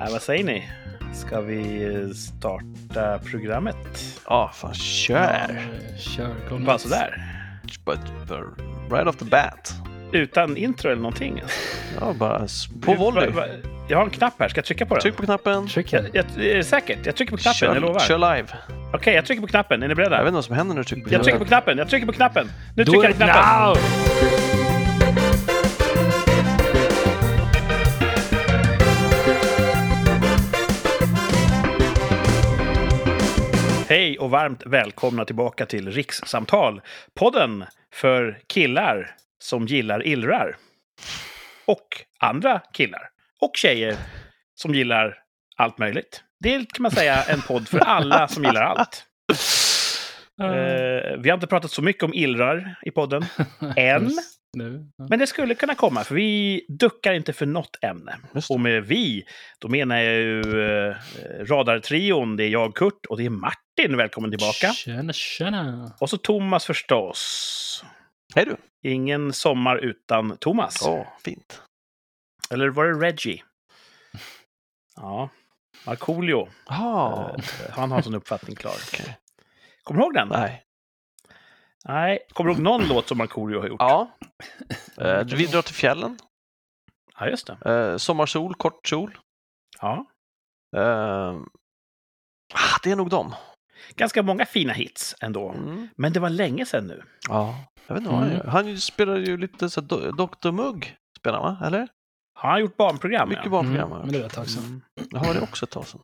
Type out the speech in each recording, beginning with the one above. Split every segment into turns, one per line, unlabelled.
Äh, vad säger ni? Ska vi starta programmet?
Ja, fan kör!
Eh, Kör, kom
Bara
loss.
sådär.
But, but right off the bat.
Utan intro eller någonting.
Ja, bara s- på
Va-
volley.
va- Jag har en knapp här. Ska jag trycka på den?
Tryck på knappen.
Tryck
Jag,
här.
jag, är det säkert? Jag trycker på knappen, jag lovar.
Kör, kör
Okej,
live.
jag trycker på knappen. Är ni beredda?
Jag vet inte vad som händer när du trycker på
Jag trycker på
knappen.
knappen, jag trycker på knappen. Nu
Då
trycker
är
jag på
det-
knappen.
Now!
Hej och varmt välkomna tillbaka till Rikssamtal. Podden för killar som gillar illrar. Och andra killar. Och tjejer som gillar allt möjligt. Det är, kan man säga en podd för alla som gillar allt.
Mm.
Eh, vi har inte pratat så mycket om illrar i podden. Än.
Ah, Just Nu. Ja.
Men det skulle kunna komma, för vi duckar inte för något ämne.
Just det.
Och med vi, då menar jag ju eh, Radartrion. Det är jag, Kurt, och det är Martin. Välkommen tillbaka.
Tjena, tjena.
Och så Thomas förstås.
Hej du!
Ingen sommar utan Thomas.
Åh, fint.
Eller var det Reggie? Ja, Markoolio.
Ja,
Eh, Han har sin uppfattning klar.
Okej.
Kommer du ihåg den?
nej.
Nej. Kommer du ihåg någon låt som Markoolio har gjort?
Ja. Eh, vi drar till fjällen.
Ja, just det.
Eh, sommarsol, kort sol.
Ja.
Eh, ah, det är nog dem.
Ganska många fina hits ändå.
Mm.
Men det var länge sedan nu.
Ja, jag vet inte vad han
Mm.
gör. Han ju spelar ju lite så här do- Dr. Mugg, spelar han va? Eller?
Har han gjort barnprogram?
Mycket
ja.
barnprogram.
men det var ett tag sedan.
Mm.
Jag har det också ett tag sedan.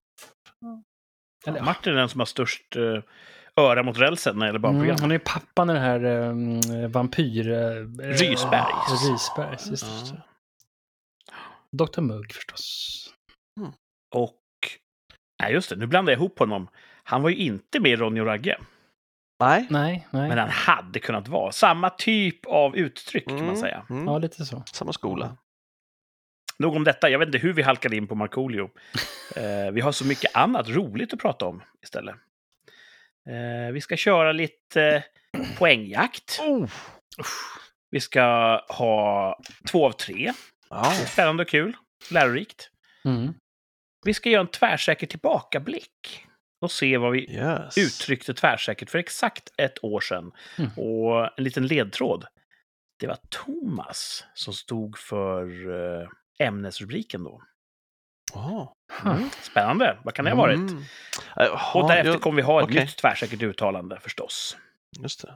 Eller, ja.
Martin är den som har störst eh, öra mot rälsen när det gäller barnprogram.
Mm, han är ju pappan i den här um, vampyr... eh,
Rysbergs.
Rysbergs, just det. just det. Dr. Mugg förstås.
Och... Nej, just det. Nu blandar jag ihop honom. Han var ju inte med i Ronny och Ragge.
Nej.
Nej, nej.
Men han hade kunnat vara. Samma typ av uttryck kan man
Mm,
säga.
mm.
Ja, lite så.
Samma skola.
Nog om detta. Jag vet inte hur vi halkade in på Markoolio. Eh, vi har så mycket annat roligt att prata om istället. Eh, vi ska köra lite eh, poängjakt. Vi ska ha två av tre.
Ja.
Spännande och kul. Lärorikt.
Mm.
Vi ska göra en tvärsäker tillbakablick och se vad vi
Yes.
uttryckte tvärsäkert för exakt ett år sedan.
Mm.
Och en liten ledtråd. Det var Thomas som stod för eh, ämnesrubriken då. Mm.
Jaha.
Spännande. Vad kan det ha varit?
Mm. Jaha,
Och därefter
jag-
kommer vi ha ett
okej.
nytt tvärsäkert uttalande förstås.
Just det.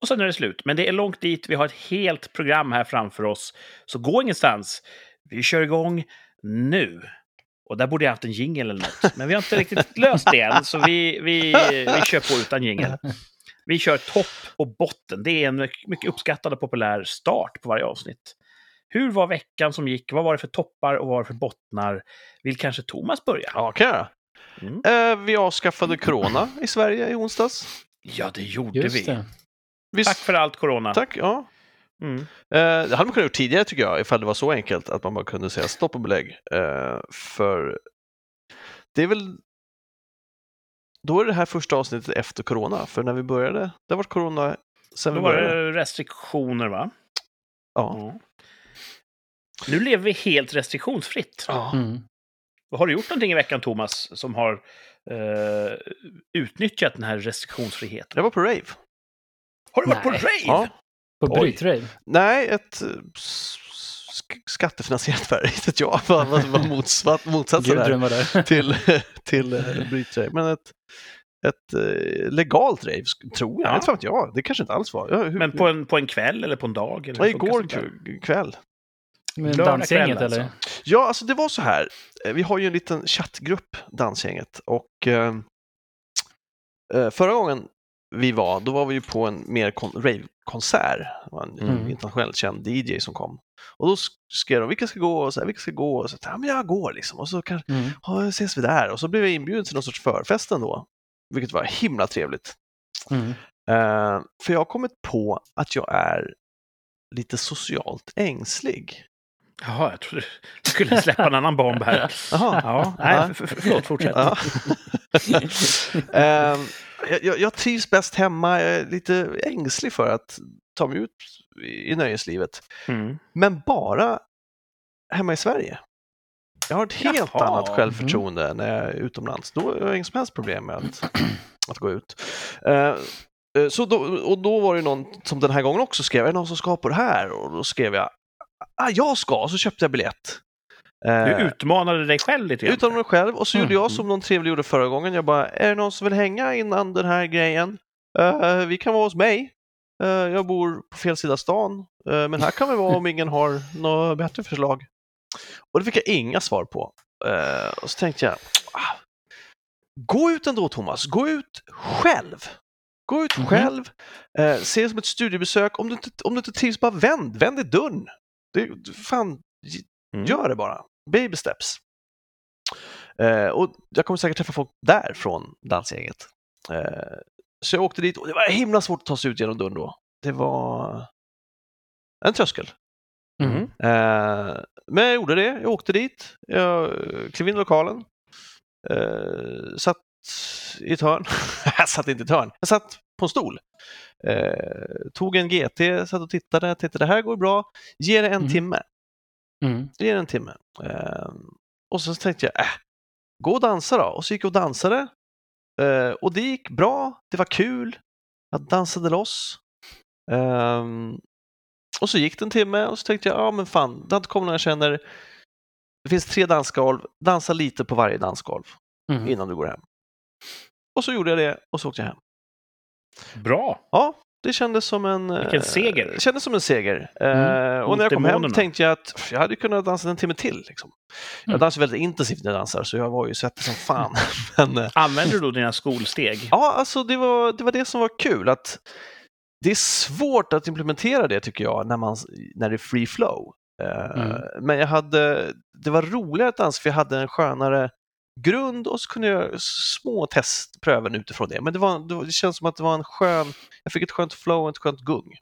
Och sen är det slut. Men det är långt dit. Vi har ett helt program här framför oss. Så gå ingenstans. Vi kör igång nu. Och där borde jag haft en jingle eller något. Men vi har inte riktigt löst det än, så vi, vi, vi kör på utan jingle. Vi kör topp och botten. Det är en mycket uppskattad och populär start på varje avsnitt. Hur var veckan som gick? Vad var det för toppar och vad var det för bottnar? Vill kanske Thomas börja?
Ja, kan jag göra.
Mm.
Eh, vi avskaffade corona i Sverige i onsdags.
Ja, det gjorde vi.
Just det.
Visst.
Tack för allt, corona.
Tack, ja.
Mm.
Eh, det hade man kunnat gjort tidigare tycker jag, ifall det var så enkelt att man bara kunde säga stopp och belägg. Eh, för det är väl... Då är det här första avsnittet efter corona, för när vi började, det har varit corona sen
Då
vi
var
började.
det restriktioner, va?
Ja.
Ja. Mm. Nu lever vi helt restriktionsfritt.
Ja.
Mm.
Har du gjort någonting i veckan, Thomas, som har eh, utnyttjat den här restriktionsfriheten?
Jag var på rave.
Har du varit på
Nej.
rave?
Ja.
På
Oj.
brytrave.
Nej, ett eh, s- sk- skattefinansierat värde, vet inte jag, vad, vad, vad motsats, motsatsen är
Gudrun var där.
till, till eh, brytrave. Men ett, ett eh, legalt rave, sk- tror jag.
Ja.
Inte fan vet jag, det kanske inte alls var. Jag, hur,
Men på en, på en kväll eller på en dag? Eller
Ja,
hur funkar
igår
sånt där?
k- kväll.
Med
Lördag
dansgänget
kväll,
eller?
alltså.
Ja, alltså det var så här. Eh, Vi har ju en liten chattgrupp, Dansgänget, och eh, eh, förra gången vi var, då var vi ju på en mer kon- rave-konsert. Det var en
Mm.
internationellt känd DJ som kom. Och då sk- skrev de, vilka ska gå? Och så här, vilka ska gå? Och så här, ja, men jag går liksom. Och så kanske,
Mm.
ja, ses vi där. Och så blev jag inbjuden till någon sorts förfest ändå, vilket var himla trevligt.
Mm.
Eh, för jag har kommit på att jag är lite socialt ängslig.
Jaha, jag trodde du skulle släppa en annan bomb här.
Jaha.
Ja, nej,
Ja.
för, för, förlåt, fortsätt.
Ja. Ehm, jag- jag, jag trivs bäst hemma, jag är lite ängslig för att ta mig ut i i nöjeslivet.
Mm.
Men bara hemma i Sverige. Jag har ett helt
Jaha. Mm.
annat självförtroende när jag är utomlands. Då har jag inga som helst problem med att, att gå ut. Eh, eh, så då, och då var det någon som den här gången också skrev, är det någon som ska på det här? Och då skrev jag, ah, jag ska, och så köpte jag biljett. Eh,
Du utmanade dig själv lite grann.
utan mig själv. Och så
Mm.
gjorde jag som någon trevlig gjorde förra gången. Jag bara, är det någon som vill hänga innan den här grejen? Eh, vi kan vara hos mig. Eh, jag bor på fel sida stan. Eh, men här kan vi vara om ingen har något bättre förslag. Och det fick jag inga svar på. Eh, och så tänkte jag, ah, gå ut ändå Thomas. Gå ut själv. Gå ut
Mhm.
själv. Eh, se det som ett studiebesök. Om du inte, om du inte trivs, bara vänd. Vänd i dörren. Det, fan,
Mm.
Gör det bara. Baby steps. Eh, och jag kommer säkert träffa folk där från dansgänget. Eh, så jag åkte dit och det var himla svårt att ta sig ut genom dörren då. Det var en tröskel.
Mm.
Eh, men jag gjorde det. Jag åkte dit. Jag klev in i lokalen. Eh, satt i ett hörn. jag satt inte i ett hörn. Jag satt på en stol. Eh, tog en GT, satt och tittade. Jag Tänkte det här går bra. Ge det en
Mm.
timme.
Mm.
Det är en timme. Ehm, och så tänkte jag, äh, gå och dansa då. Och så gick jag och dansade. Eh, och det gick bra, det var kul. Jag dansade loss. Ehm, och så gick det en timme och så tänkte jag, ja men fan, danskolven jag känner, det finns tre dansgolv, dansa lite på varje dansgolv
Mm.
innan du går hem. Och så gjorde jag det och så åkte jag hem.
Bra!
Ja, det kändes som en... eh,
Vilken seger.
Det kändes som en seger.
Mm,
Eh, och
mot
när jag kom hem
demonerna.
tänkte jag att pff, jag hade kunnat dansa en timme till. Liksom. Jag
Mm.
dansar väldigt intensivt när jag dansar, så jag var ju svettig som fan. Men, eh,
Använder du då dina skolsteg?
ja, alltså det var, det var det som var kul. Att det är svårt att implementera det, tycker jag, när, man, när det är free flow. Eh,
Mm.
Men jag hade, det var roligare att dansa, för jag hade en skönare grund och så kunde jag små testpröven utifrån det. Men det, var, det, var, det känns som att det var en skön, jag fick ett skönt flow och ett skönt gung.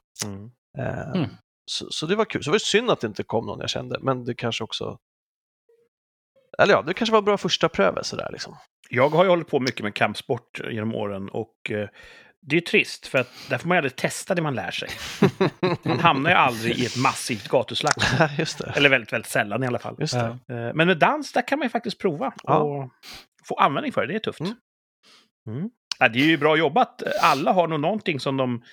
Eh,
Mm.
så, så det var kul. Så var det synd att det inte kom någon jag kände, men det kanske också... Eller ja, det kanske var bra första pröve sådär liksom.
Jag har ju hållit på mycket med kampsport genom åren och eh, det är trist för att där får man ju aldrig testa det man lär sig. Man hamnar ju aldrig i ett massivt gatuslagsmål.
Just det.
Eller väldigt, väldigt sällan i alla fall.
Just det.
Ja.
Eh, Men med dans, där kan man ju faktiskt prova
Ja.
och få användning för det. Det är tufft.
Mm.
Mm. Ja, det är ju bra jobbat. Alla har nog någonting som de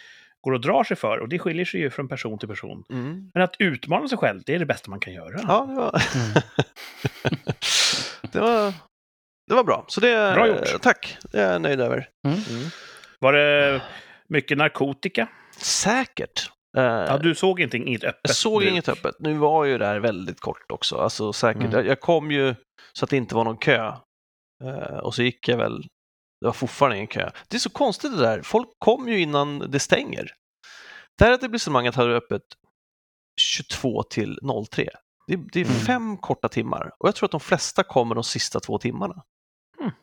går och drar sig för och det skiljer sig ju från person till person.
Mm.
Men att utmana sig själv, det är det bästa man kan göra.
Ja, det var...
Mm.
det var... Det var bra. Så det...
Bra gjort.
eh, Tack. Det är jag nöjd över.
Var det mycket narkotika?
Säkert. Eh,
Ja, du såg inte inget öppet?
jag såg
bruk.
inget öppet. Nu var ju det här väldigt kort också. Alltså säkert.
Mm.
Jag, jag kom ju så att det inte var någon kö. Eh, och så gick jag väl. Det var fortfarande ingen kö. Det är så konstigt det där. Folk kom ju innan det stänger. Det här etablissemanget hade öppet 22 till 03. Det, det är
Mm.
fem korta timmar och jag tror att de flesta kommer de sista två timmarna.
Mm.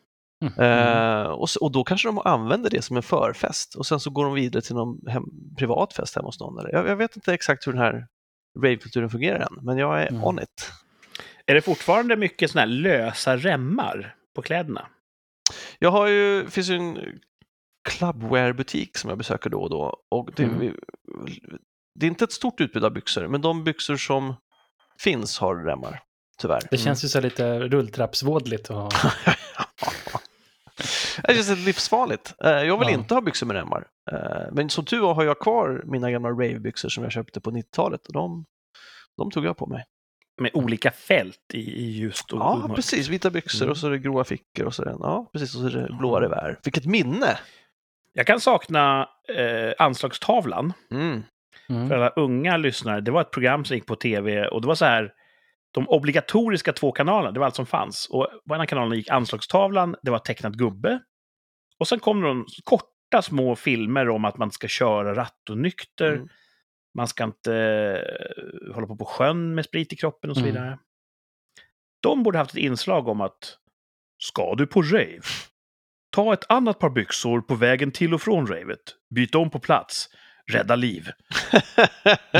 Eh, och, s- och då kanske de använder det som en förfest och sen så går de vidare till någon hem, privat fest hemma hos någon. Eller, jag, jag vet inte exakt hur den här ravekulturen fungerar än, men jag är
Mm.
on it.
Är det fortfarande mycket såna här lösa remmar på kläderna?
Jag har ju, det finns ju en clubwear-butik som jag besöker då och då. Och det,
Mm.
det är inte ett stort utbud av byxor, men de byxor som finns har remmar, tyvärr.
Det känns ju så här lite rulltrappsvådligt. Och...
Det känns lite livsfarligt. Eh, Jag vill
Ja.
inte ha byxor med remmar. Eh, Men som tur var har jag kvar mina gamla rave-byxor som jag köpte på 90-talet och de, de tog jag på mig.
Med olika fält i, i ljust och och
Ja,
mörkt.
precis. Vita byxor
Oh, Mm.
och så är det gråa fickor och så är det, ja, precis, och så är det blåa revär. Vilket minne!
Jag kan sakna eh, anslagstavlan
Mm.
för
Mm.
alla unga lyssnare. Det var ett program som gick på tv och det var så här. De obligatoriska två kanalerna, det var allt som fanns. Och på ena kanalen gick anslagstavlan, det var tecknat gubbe. Och sen kom de korta små filmer om att man ska köra rattonykter.
Mm.
Man ska inte eh, hålla på på sjön med sprit i kroppen och så
Mm.
vidare. De borde haft ett inslag om att ska du på rave, ta ett annat par byxor på vägen till och från ravet, byt om på plats, rädda liv.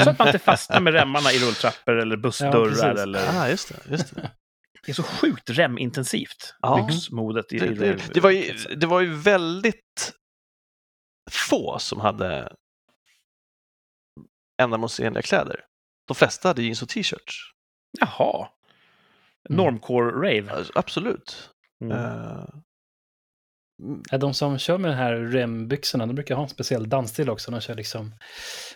Så att man inte fastnar med remmarna i rulltrappor eller
Ja,
bussdörrar.
precis.
eller...
Ah, just det. Just det.
Det är så sjukt remintensivt,
Ja.
byxmodet i,
Det,
i
det,
rave-
det, var ju, det var ju väldigt få som hade ändamålsenliga kläder. De flesta hade jeans och t-shirts.
Jaha.
Mm.
Normcore-rave.
Alltså, absolut.
Mm.
Eh,
Ja, de som kör med de här rembyxorna, de brukar ha en speciell dansstil också. De kör liksom,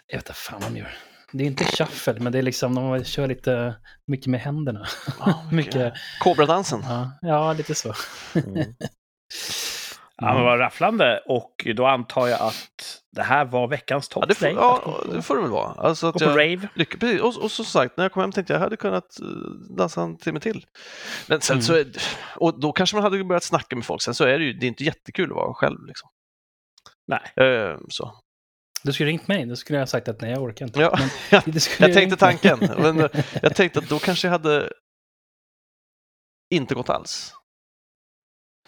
jag vet inte fan vad de gör. Det är inte shuffle, men det är liksom, de kör lite mycket med händerna.
ja,
Mycket,
Kobradansen.
ja, ja lite så. Mm.
Mm. Ja,
Mm.
men vad rafflande. Och då antar jag att det här var veckans
Ja,
topp
det
för
får,
dig. att gå
ja,
på-
det får det väl vara. Alltså
Gå
att
på
jag,
rave.
lyck, precis, och, och som sagt, när jag kom hem tänkte jag jag hade kunnat eh, dansa en timme till. Men sen
Mm.
så, är- och då kanske man hade börjat snacka med folk. Sen så är det ju, det är inte jättekul att vara själv. Liksom.
Nej.
Eh, så.
Du skulle ringt mig, då skulle jag ha sagt att nej, jag orkar inte.
Ja,
Men
jag,
det skulle
jag tänkte
ringt mig.
tanken, men eh, jag tänkte att då kanske jag hade inte gått alls.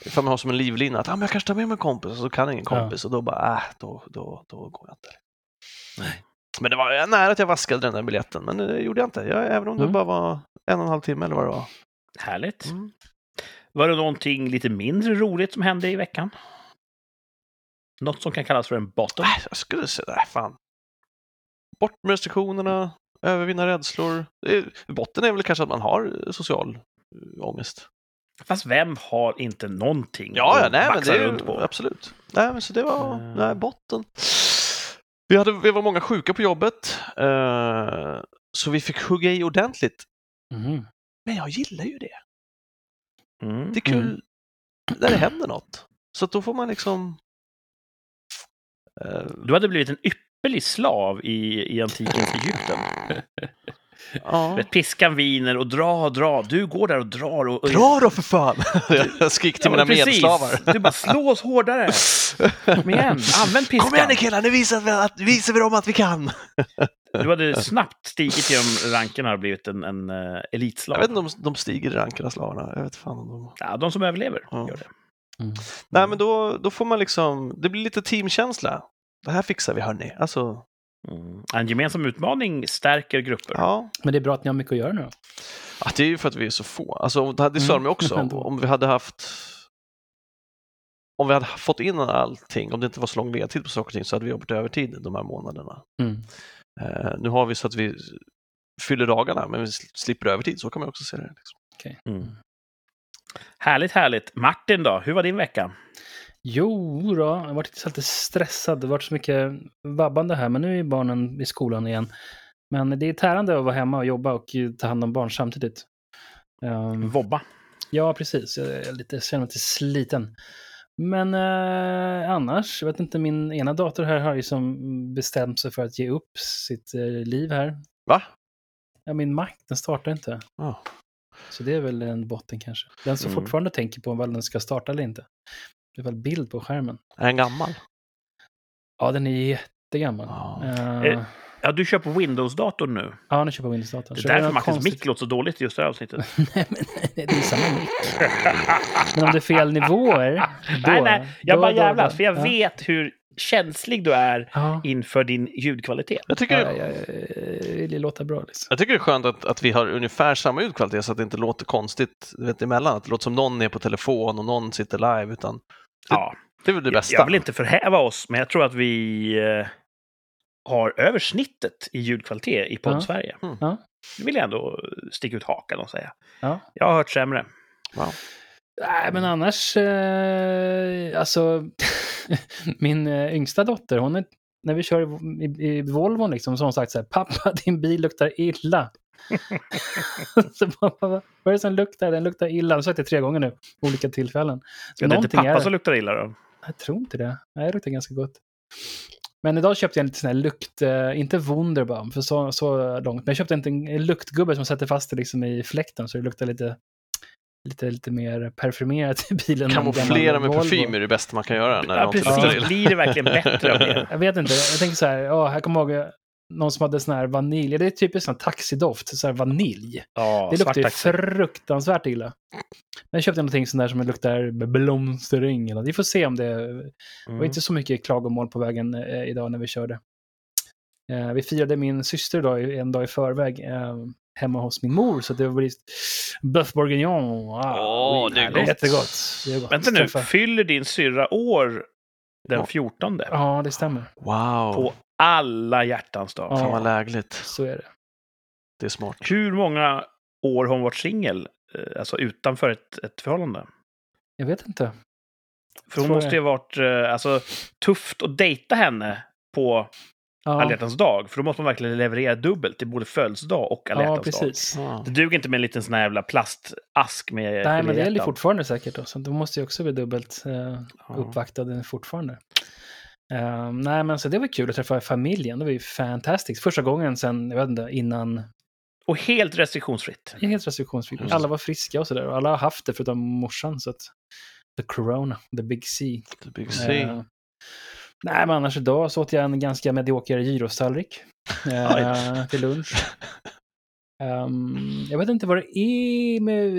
Ifall man har som en livlina att ah, men jag kanske tar med mig en kompis och så kan ingen
Ja.
kompis och då bara, äh, då, då, då går jag inte. Men det var nära att jag vaskade den där biljetten, men det gjorde jag inte. Jag, även om det
Mm.
bara var en och en halv timme eller vad det var.
Härligt.
Mm.
Var det någonting lite mindre roligt som hände i veckan? Något som kan kallas för en bottom?
Äh, jag skulle säga, nej fan. Bort med restriktionerna, övervinna rädslor. Det är- Botten är väl kanske att man har social eh, ångest.
Fast vem har inte någonting
Ja, ja
att
nej, men
baxa
det är
runt på?
absolut. Nej, men så det var
Mm.
nej, botten. Vi, hade, vi var många sjuka på jobbet, eh, så vi fick hugga i ordentligt.
Mhm.
Men jag gillar ju det.
Mm.
Det är kul när det händer något. Så att då får man liksom... eh,
Du hade blivit en ypperlig slav i, i antikens Egypten.
ja.
Vet, piskan viner och dra, dra. Du går där och drar. Och, och
Dra då för fan! jag skrek till
Ja,
mina
men precis.
medslavar.
Du bara slås hårdare. Kom igen, använd piskan.
Kom igen nu killar, nu visar vi, att, visar vi dem att vi kan!
Du hade snabbt stigit genom ranken och blivit en, en eh, elitslav.
Jag vet inte om de stiger i ranken av slavarna. Jag vet fan om de...
Ja, de som överlever
Ja.
gör det.
Mm.
Nej, men då, då får man liksom... Det blir lite teamkänsla. Det här fixar vi hörni. Alltså,
Mm. En gemensam utmaning stärker grupper.
ja.
Men det är bra att ni har mycket att göra nu. då.
Ja, det är ju för att vi är så få. Alltså, om- det hade- det stör
Mm,
mig också. Om,
ändå.
om vi hade haft... Om vi hade fått in allting, om det inte var så lång ledtid på saker och ting, så hade vi jobbat övertid de här månaderna.
Mm.
Eh, nu har vi så att vi fyller dagarna, men vi sl- slipper övertid. Så kan man också se det. Liksom.
Mm. Härligt, härligt. Martin då, hur var din vecka?
Jo då, jag har varit lite stressad. Det har varit så mycket vabbande här, men nu är barnen i skolan igen. Men det är tärande att vara hemma och jobba och eh, ta hand om barn samtidigt. Ehm,
Vobba.
Ja, precis. Jag är lite, jag känner mig lite sliten. Men eh, annars, jag vet inte, min ena dator här har ju som bestämt sig för att ge upp sitt eh, liv här.
Va?
Ja, min Mac, den startar inte.
Ja.
Så det är väl en botten kanske. Den som
Mm.
fortfarande tänker på om den ska starta eller inte. Det är väl bild på skärmen.
Är den gammal?
Ja, den är jättegammal.
Ja.
Eh,
Eh, Ja, du kör på Windows-datorn nu.
ja, nu köper jag Windows-datorn.
Det
Så
är
något
därför Martins
konstigt-
mick låter så dåligt i just det här avsnittet.
nej, men nej, det är samma mick. Men om det är fel nivåer, då...
nej, nej, jag
då-
bara
då-
jävlas,
då-
för jag
ja.
vet hur känslig du är
Ja.
inför din ljudkvalitet.
Jag tycker,
Ja, ja, ja, jag vill ju låta bra liksom.
jag tycker det är skönt att, att vi har ungefär samma ljudkvalitet så att det inte låter konstigt du vet, emellan. Att det låter som någon är på telefon och någon sitter live. Utan
Ja,
det är väl det
jag,
bästa.
jag vill inte förhäva oss, men jag tror att vi eh, har översnittet i ljudkvalitet i
Ja.
podd-Sverige.
Mm.
Ja.
Det vill jag ändå sticka ut hakan och säga.
Ja.
Jag har hört sämre.
Nej, men annars, eh, alltså, min eh, yngsta dotter, hon är, när vi kör i, i, i Volvon liksom, så har hon sagt så här, pappa din bil luktar illa. så pappa, vad är det som luktar? Den luktar illa. Hon har sagt det tre gånger nu, olika tillfällen. Så
Ja, det är inte
någonting
pappa
är det.
som luktar illa då.
Jag tror inte det. Nej, det luktar ganska gott. Men idag köpte jag en liten sån här lukt, eh, inte Wunderbaum, för så, så långt, men jag köpte en, liten- en luktgubbe som sätter fast det liksom i fläkten så det luktar lite, lite, lite mer perfumerat i bilen. än
Kamouflera
gammal
med
Volvo.
parfym är det bästa man kan göra. När
Ja,
någon
precis.
luktar illa.
Blir det verkligen bättre av det?
Jag vet inte, jag tänker så här, ja, här kommer jag ihåg eh, någon som hade sån här vanilj, det är typiskt sån här taxidoft, så här vanilj.
Ja,
det luktar ju
svart taxi.
fruktansvärt illa. Men jag köpte någonting sån där som luktar blomstring. Eller, något. vi får se om det Det var
Mm.
inte så mycket klagomål på vägen eh, idag när vi körde. Eh, vi firade min syster idag, i- en dag i förväg eh, hemma hos min mor, så det var blivit bœuf bourguignon.
Åh,
oj,
det är
härligt.
gott.
Jättegott. Det är gott.
Vänta nu,
Träffa-
fyller din syrra år den
Ja.
14?
Ja, det stämmer.
Wow,
På alla hjärtans dag.
Ja.
fan vad lägligt.
Så är det.
Det är smart.
Hur många år har hon varit singel? eh, alltså utanför ett, ett förhållande?
Jag vet inte.
För hon
Tror jag.
måste ju ha varit eh, alltså, tufft att dejta henne på
Ja,
alla hjärtans dag. För då måste man verkligen leverera dubbelt till både födelsedag och alla
ja
hjärtans dag.
precis.
Ah.
Det duger inte med en liten sån här jävla plastask med
Nej, men det gäller
geléhjärtan.
fortfarande säkert. Då, så de måste ju också bli dubbelt eh,
Ja.
uppvaktade fortfarande. Eh, nej, men så det var kul att träffa familjen. Det var ju fantastiskt. Första gången sen, jag vet inte, innan
Och helt restriktionsfritt.
Ja, Helt restriktionsfritt.
Just.
Alla var friska och sådär. Och alla har haft det förutom morsan. Så att, the corona, the big C.
The Big C.
Eh, nej, men annars idag så åt jag en ganska medioker gyrostallrik eh, till lunch. Ehm, jag vet inte vad det är med...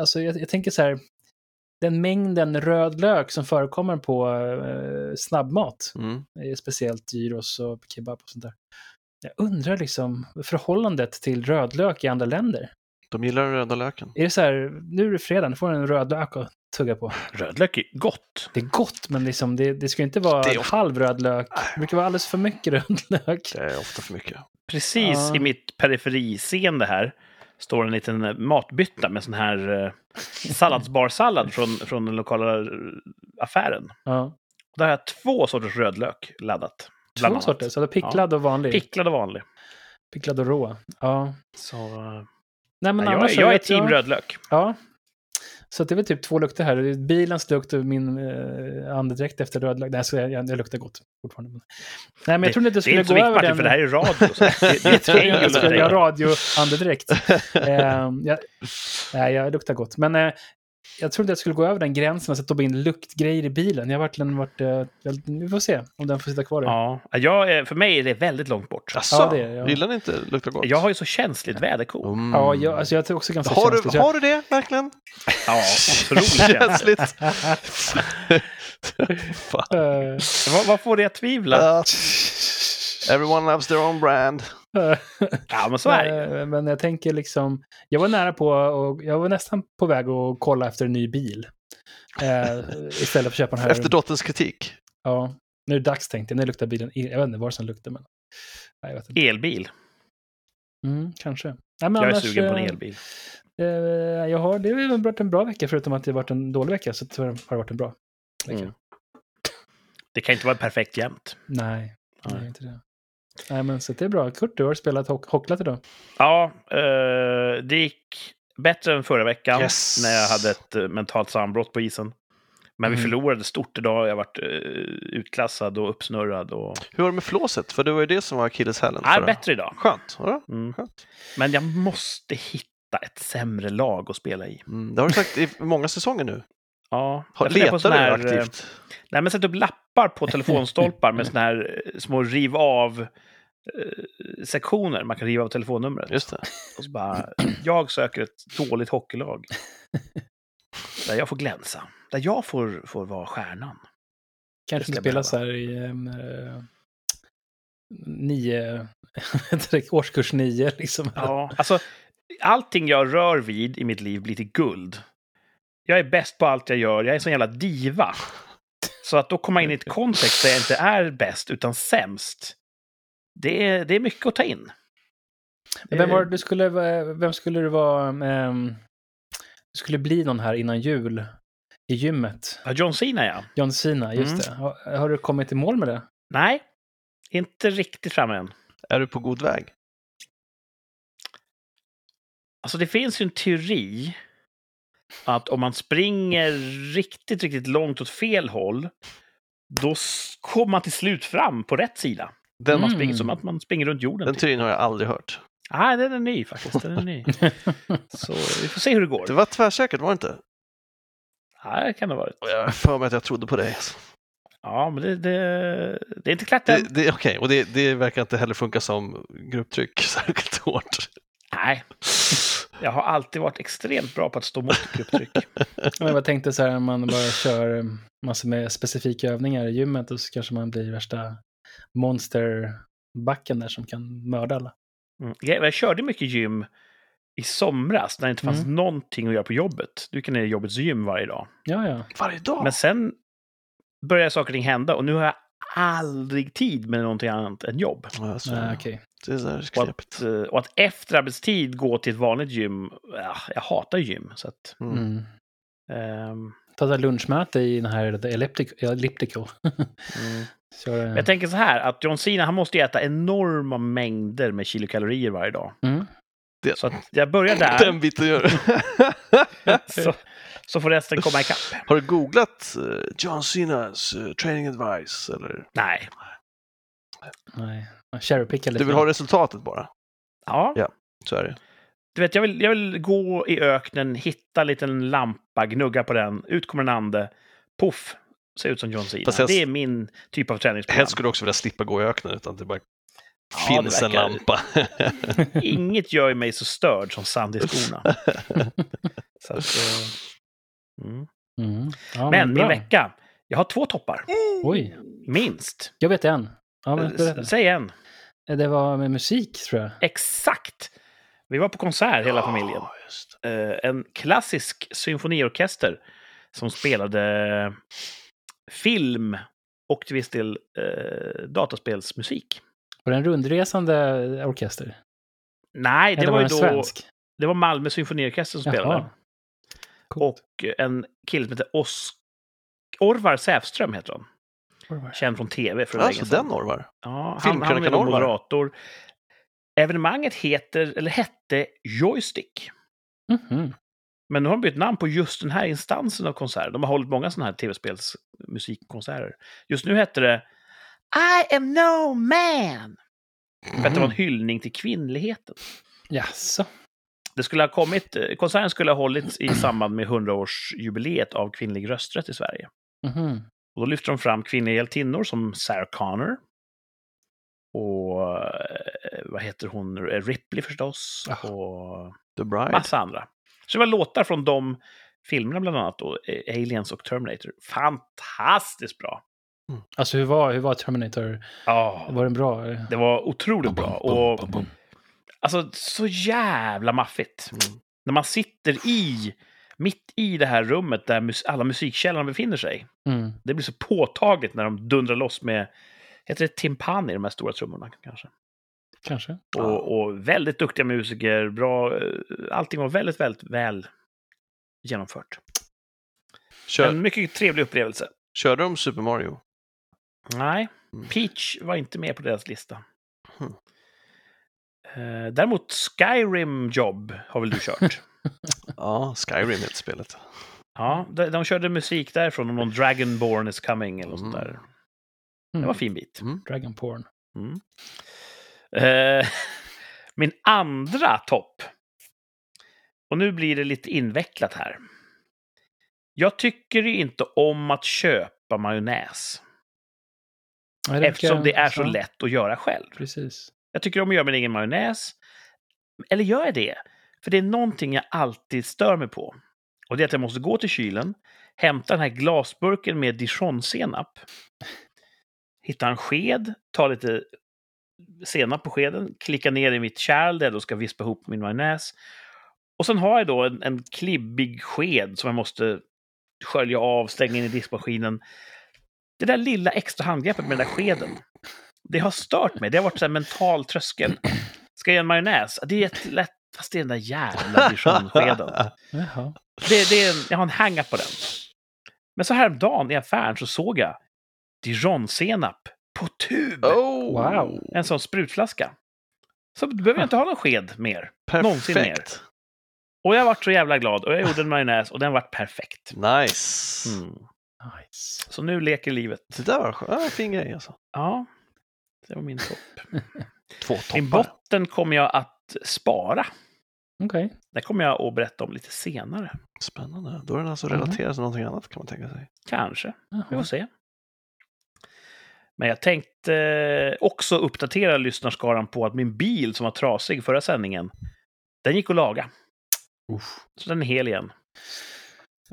Alltså, jag, jag tänker så här. Den mängden rödlök som förekommer på eh, snabbmat
Mm.
Eh, speciellt gyros och kebab och sånt där. Jag undrar liksom förhållandet till rödlök i andra länder.
De gillar den röda löken.
Är det så här, nu är det fredag, nu får du en rödlök att tugga på.
Rödlök är gott.
Det är gott, men liksom, det, det ska ju inte vara
Det är
en
ofta-
halv rödlök. Det brukar vara alldeles för mycket rödlök.
Det är ofta för mycket.
Precis
Ja.
i mitt periferiseende här står en liten eh, matbytta med sån här eh, salladsbarsallad från, från den lokala eh, affären.
Ja.
Och där har jag två sorters rödlök laddat.
Två
bland annat.
sorter, så det är picklad och vanlig.
Picklad och vanlig.
Picklad och rå. Ja.
Så, eh,
Nej, men
ja, jag,
annars
är-
så
jag är
vet
team rödlök.
Ja. Så att det är väl typ två lukter här. Det är Bilens lukt och min eh, andedräkt efter rödlök. Nej, så jag, jag, jag luktar gott fortfarande. men- Nej, men jag trodde inte det
Det är
skulle
inte så
gå över
viktigt, Martin,
den.
för det här är radio. Så det, det är
jag
ett
trodde
häng under
inte det skulle
dig.
göra radioandedräkt. Eh, jag, nej, jag luktar gott. Men eh, jag trodde jag skulle gå över den gränsen och sätta upp in luktgrejer i bilen. Jag har verkligen varit... Eh, väldigt- vi får se om den får sitta kvar. där.
Ja, jag, är- för mig är det väldigt långt bort.
Jaså?
Ja, det är det, ja.
Gillar ni inte luktar gott?
Jag har ju så känsligt väderkorn.
Mm.
Ja, jag, alltså jag är också ganska
har,
känslig, så
du,
jag-
har du det verkligen?
Ja, otroligt känsligt.
Känsligt. Fan.
Eh,
Vad, vad får det att tvivla?
Uh, everyone loves their own brand.
eh.
Ja, men så är det.
Eh, Men jag tänker liksom, jag var nära på, och jag var nästan på väg att kolla efter en ny bil. Eh, istället för att köpa den här.
Efter dotterns kritik.
Ja, nu är det dags tänkte jag, nu luktar bilen, el. jag vet inte vad som luktar men. Nej, jag vet inte.
Elbil.
Mm, kanske. Nej, men
Jag är
annars,
sugen på en
eh,
elbil.
Eh, jag har, det har varit en bra vecka förutom att det har varit en dålig vecka så tyvärr har det varit en bra. vecka.
Mm. Det kan inte vara perfekt jämt.
Nej,
Nej.
nej. inte det. Nej men så det är bra. Kurt, du har spelat hock- hocklat idag.
Ja, eh, det gick bättre än förra veckan
Yes.
när jag hade ett eh, mentalt sambrott på isen. Men vi
Mm.
förlorade stort idag. Jag varit eh, utklassad och uppsnurrad. Och...
Hur var det med flåset? För det var ju det som var akilleshälen.
Nej,
förra-
bättre idag.
Skönt. Ja,
Mm.
skönt.
Men jag måste hitta ett sämre lag att spela i.
Mm, det har du sagt i många säsonger nu.
Ja,
Har,
jag funderar på
letar
sån
du
här, eh,
aktivt?
Nej, men sätt upp lappar på telefonstolpar med såna här eh, små riv av eh, sektioner. Man kan riva av telefonnumret.
Just det.
Och så bara, jag söker ett dåligt hockeylag. Där jag får glänsa. Där jag får, får vara stjärnan.
Kanske
Det
inte
ska jag
spelas här i ehm, eh, nio, direkt årskurs nio liksom.
Ja, alltså, allting jag rör vid i mitt liv blir till guld. Jag är bäst på allt jag gör. Jag är en sån jävla diva. Så att då komma in i ett kontext där jag inte är bäst, utan sämst. Det är, det är mycket att ta in.
Men Vem, var, det du skulle, vem skulle du vara, ehm, du skulle bli någon här innan jul i gymmet?
Ja, John Cena, ja.
John Cena, just
Mm.
det. Har, har du kommit i mål med det?
Nej, inte riktigt framme än.
Är du på god väg?
Alltså det finns ju en teori att om man springer riktigt, riktigt långt åt fel håll, då s- kommer man till slut fram på rätt sida.
Den,
Man
Mm.
springer som att man springer runt jorden.
den
Typ.
teorin har jag aldrig hört.
Nej, den är ny faktiskt. Den är ny. Så vi får se hur det går.
Det var tvärsäkert, var det inte?
Ja, det kan det ha varit.
Och Jag har för mig att jag trodde på dig. alltså.
Ja, men det, det, det är inte klart
Det,
än.
det, Okej, och det, det verkar inte heller funka som grupptryck särskilt hårt.
Nej, jag har alltid varit extremt bra på att stå mot grupptryck.
Jag bara tänkte så här, om man bara kör ehm, massor med specifika övningar i gymmet och så kanske man blir värsta monsterbacken där som kan mörda alla.
Mm. Jag, jag körde mycket gym i somras när det inte fanns
Mm.
någonting att göra på jobbet. Du kan ner i jobbets gym varje dag.
Ja, ja.
Varje dag?
Men sen började saker och ting hända och nu har jag aldrig tid med någonting annat än jobb.
Ja, så-
Nej, Ah, okej.
Det är så här
Och att,
knepigt.
eh, och att efter arbetstid gå till ett vanligt gym, ja, jag hatar gym. Så att,
Mm.
Mm.
ehm,
Ta så här lunchmöte i den här The Elliptic- Elliptical.
mm.
Kör, eh,
Jag tänker så här, att John Cena han måste ju äta enorma mängder med kilokalorier varje dag.
mm.
Det,
Så att jag börjar där,
Den biten gör
så, så får resten komma ikapp.
Har du googlat eh, John Cenas eh, training advice? Eller?
Nej.
Nej, cherrypicka lite.
Du vill ha resultatet bara?
Ja,
Ja. Så är det.
du vet, jag vill, jag vill gå i öknen, hitta en liten lampa, gnugga på den, ut kommer en ande, poff, ser ut som John Cena.
Fast jag-
Det är min typ av träningsprogram.
Helst skulle du också vilja slippa gå i öknen utan det bara
Ja, det
finns en
verkar-
lampa.
Inget gör mig så störd som sand i skorna. så att, eh, mm.
Mm. Ja,
Men min
bra.
vecka, jag har två toppar,
Oj,
minst.
jag vet en. Ja,
Eh,
men, berätta.
Säg en.
det var med musik tror jag.
Exakt! Vi var på konsert, hela familjen.
Ja, just det.
Eh, en klassisk symfoniorkester som spelade film och till viss del eh, dataspelsmusik.
Var det en rundresande orkester?
Nej, det
Eller
var, ju
var den
då...
svensk?
Det var Malmö symfoniorkester som
Jaha.
spelade.
Coolt.
Och en kille som heter Os... Orvar Säfström heter han. Känd från tv för
Alltså den Orvar.
Ja, han, han är
Filmkrönikan
då
Orvar.
moderator. Evenemanget heter, eller hette Joystick.
Mhm.
Men nu har de bytt namn på just den här instansen av konserter. De har hållit många sådana här tv-spelsmusikkonserter. Just nu hette det I am no man. För att det var en hyllning till kvinnligheten.
Mm. Jaså?
Det skulle ha kommit, eh, konserten skulle ha hållits i samband med 100-årsjubileet av kvinnlig rösträtt i Sverige.
Mhm.
Och då lyfter de fram kvinnliga hjältinnor som Sarah Connor. Och eh, vad heter hon? Ripley förstås.
Ja.
Och
The Bride.
massa andra. Så det var låtar från de filmerna bland annat, då, eh, Aliens och Terminator. Fantastiskt bra!
Alltså hur var, hur var Terminator?
Ja,
Var den bra?
det var otroligt bra. Och alltså, så jävla maffigt. När man sitter i, mitt i det här rummet där mus- alla musikkällorna befinner sig.
Mm.
Det blir så påtagligt när de dundrar loss med, heter det timpani, de här stora trummorna kanske?
Kanske.
Ja.
Och, och väldigt duktiga musiker, bra, eh, allting var väldigt, väldigt väl genomfört.
Kör,
En mycket trevlig upplevelse.
körde de Super Mario?
Nej,
Mm.
Peach var inte med på deras lista.
Hmm.
Eh, Däremot Skyrim Job har väl du kört?
Ja, Skyrim heter spelet.
ja, de, de körde musik därifrån, om någon Dragonborn is coming eller något sånt där. Det var en
Mm.
fin bit.
Dragon porn.
Mm. Eh, min andra topp. Och nu blir det lite invecklat här. Jag tycker ju inte om att köpa majonnäs.
Ja,
Eftersom det
brukar-
är så
ja,
lätt att göra själv.
Precis.
Jag tycker om att göra min egen majonnäs. Eller gör jag det? För det är någonting jag alltid stör mig på. Och det är att jag måste gå till kylen, hämta den här glasburken med dijonsenap, hitta en sked, ta lite senap på skeden, klicka ner i mitt kärl där jag då ska vispa ihop min majonnäs. Och sen har jag då en, en klibbig sked som jag måste skölja av, slänga in i diskmaskinen. Det där lilla extra handgreppet med den där skeden, det har stört mig. Det har varit så här mental tröskel. Ska jag göra en majonnäs? Det är jättelätt, fast det är den där jävla dijonskeden.
Jaha.
Det, det är en, jag har en hang-up på den. Men så häromdagen i affären så såg jag dijonsenap på tub.
oh,
Wow.
En sån sprutflaska. Så behöver jag inte ha någon sked mer. Någonsin
Perfekt.
Och jag vart så jävla glad och jag gjorde en majonnäs och den vart perfekt.
Nice.
Mm.
Nice.
Så nu leker livet.
Det där var skönt. Ja, fin grej alltså.
Ja, det var min topp.
Två
Min
toppar.
botten kommer jag att spara.
Okej.
Det kommer jag att berätta om lite senare.
Spännande. Då är den alltså
Mhm.
relaterad till någonting annat kan man tänka sig.
Kanske. Vi får
Jaha.
se. Men jag tänkte eh, också uppdatera lyssnarskaran på att min bil som var trasig förra sändningen, den gick att laga. Så den är hel igen.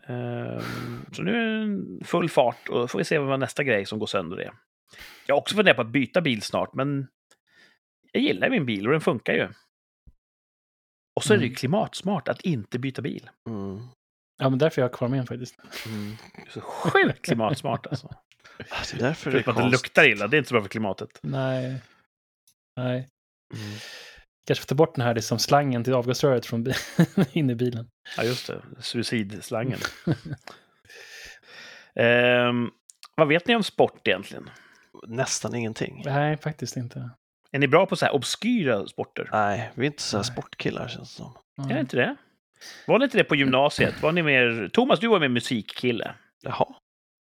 Ehm, Så nu är den full fart och då får vi se vad nästa grej som går sönder är. Jag har också funderat på att byta bil snart, men jag gillar min bil och den funkar ju. Och så är det ju
Mm.
klimatsmart att inte byta bil.
Mm.
Ja, men därför är jag kvar med en faktiskt.
Mm.
Det är så sjukt klimatsmart alltså.
Ah, Det är därför det är
Förutom Typ att det
konstigt.
luktar illa, det är inte så bra för klimatet.
Nej. Nej.
Mm.
Kanske få ta bort den här liksom slangen till avgasröret från bi- in i bilen.
Ja, just det. Suicidslangen. Ehm, vad vet ni om sport egentligen?
Nästan ingenting.
Nej, faktiskt inte.
Är ni bra på så här obskyra sporter?
Nej, vi är inte så här
Nej.
sportkillar känns det som.
Är det inte det? Var ni inte det på gymnasiet? Var ni mer... Thomas, du var mer musikkille.
Jaha.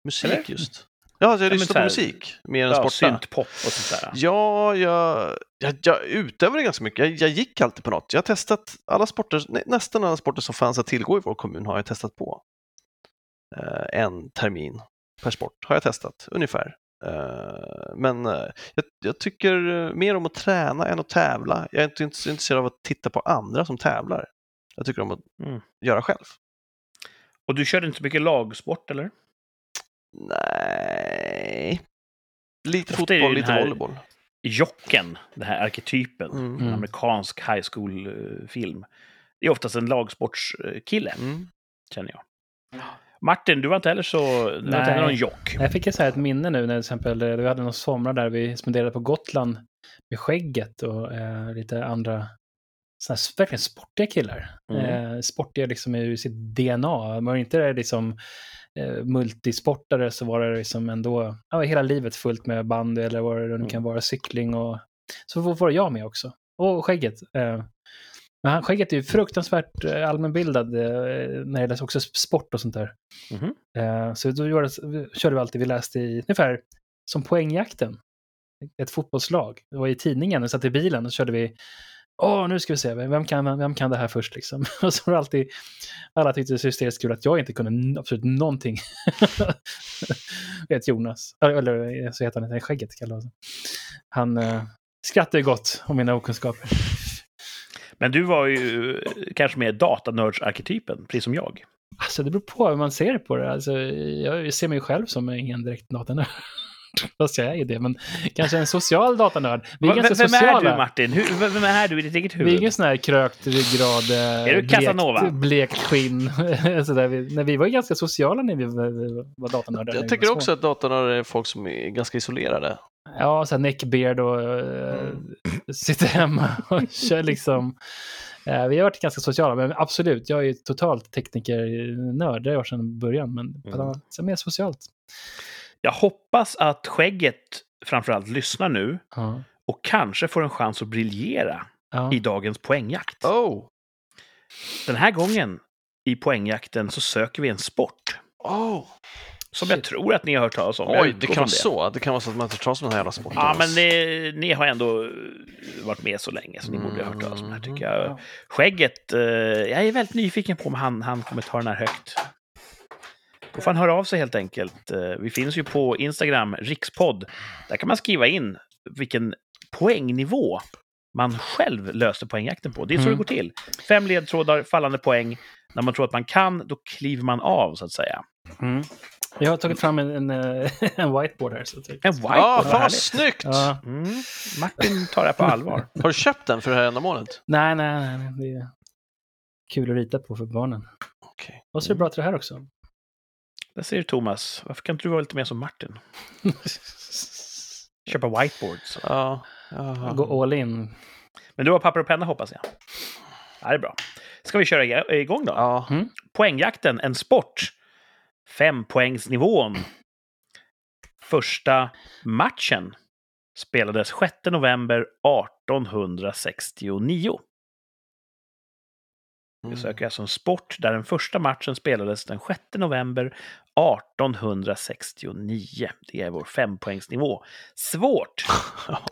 Musik
Eller?
just. Ja, alltså jag
men
lyssnar
så
på
här-
musik mer än
Ja,
sporta.
syntpop och sånt där.
Ja, jag, jag, jag utövade ganska mycket. Jag, jag gick alltid på något. Jag har testat alla sporter, nä- nästan alla sporter som fanns att tillgå i vår kommun har jag testat på. Eh, en termin per sport har jag testat, ungefär. Eh, men eh, jag, jag tycker eh, mer om att träna än att tävla. Jag är inte inte så intresserad av att titta på andra som tävlar. Jag tycker om att
Mm.
göra själv.
Och du körde inte så mycket lagsport, eller?
Nej. Lite
Ofta är det ju
fotboll,
den
lite
här-
volleyboll.
Jocken, den här arketypen,
Mm.
en
Mm.
amerikansk high school-film. Det är oftast en lagsportskille,
Mm.
känner jag. Martin, du var inte heller så... Du var inte heller
Nej.
någon jock.
Jag fick ju så här ett minne nu när till exempel eh, vi hade någon somrar där vi spenderade på Gotland med skägget och eh, lite andra såna här, verkligen sportiga killar.
Mm.
Eh, sportiga liksom i sitt DNA. Man var inte det liksom eh, multisportare så var det liksom ändå ja, hela livet fullt med bandy eller vad det nu kan vara, cykling och så var var jag med också. Och skägget. Eh, men han, skägget är ju fruktansvärt eh, allmänbildad eh, när det gäller också sport och sånt där.
Mhm.
Eh, så då gjorde, vi- körde vi alltid, vi läste i ungefär som poängjakten. Ett fotbollslag. Det var i tidningen, vi satt i bilen och så körde vi Åh, nu ska vi se, vem kan, vem kan det här först liksom? Och så var det alltid, alla tyckte det var så hysteriskt kul att jag inte kunde n- absolut någonting. vet Jonas, eller eh, så heter han, inte, skägget kallar han sig. Han eh, skrattar ju gott om mina okunskaper.
Men du var ju eh, kanske mer datanördsarketypen, precis som jag.
Alltså det beror på hur man ser på det. Alltså, jag ser mig själv som ingen direkt datanörd. Fast jag är ju det, men kanske en social datanörd. Vi är
Va-
ganska
vem
sociala.
är du, Martin? Hur, vem vem är du i ditt eget
Vi är
huvud?
ingen sån här krökt ryggrad, eh,
Är du Casanova?
blekt, blekt skinn. så där. Vi, nej, vi var ju ganska sociala när vi var- vi var datanördar. när vi
Jag
var
tycker
små.
också att datorn är folk som är ganska isolerade.
Ja, så här neckbeard och eh, sitter hemma och kör liksom. Eh, vi har varit ganska sociala, men absolut, jag är ju totalt teknikernörd. Det har jag varit sedan början, men på ett
Mm.
annat sätt, mer socialt.
Jag hoppas att skägget framförallt lyssnar nu
Ja.
och kanske får en chans att briljera
Ja.
i dagens poängjakt.
Oh!
Den här gången i poängjakten så söker vi en sport
oh.
som jag
Shit.
tror att ni har hört talas om. Jag
Oj,
utgår
det kan
från
vara så. Det kan vara så att man inte tar sådana här jävla sporter.
Ja, men ni, ni har ändå eh, varit med så länge så ni borde ha hört talas om det här tycker jag.
Mm. Ja.
Skägget, eh, jag är väldigt nyfiken på om han, han kommer ta den här högt. Då får han höra av sig helt enkelt. Eh, Vi finns ju på Instagram, rikspodd. Där kan man skriva in vilken poängnivå man själv löser poängjakten på. Det är så
Mm.
det går till. Fem ledtrådar, fallande poäng. När man tror att man kan, då kliver man av, så att säga.
Mm. Jag har tagit fram en, en, eh, en whiteboard här. Så att jag...
En whiteboard,
Ja, Ah, fan vad
härligt.
snyggt!
ja.
Mm. Martin tar det här på allvar.
Har du köpt den för det här ändamålet?
nej, nej, nej, nej, det är kul att rita på för barnen.
Okej.
Och så är det bra till det här också.
Där ser du Thomas. Varför kan inte du vara lite mer som Martin? Köpa whiteboards.
Ja. jaha.
Gå all in.
Men du har papper och penna hoppas jag. Ja, det är bra. Ska vi köra ig- igång då?
Ja. mm.
Poängjakten, en sport. Fempoängsnivån. Första matchen spelades 6 november 1869. Vi
Mm.
söker alltså en sport där den första matchen spelades den 6 november 1869. Det är vår fempoängsnivå. Svårt!
Ja.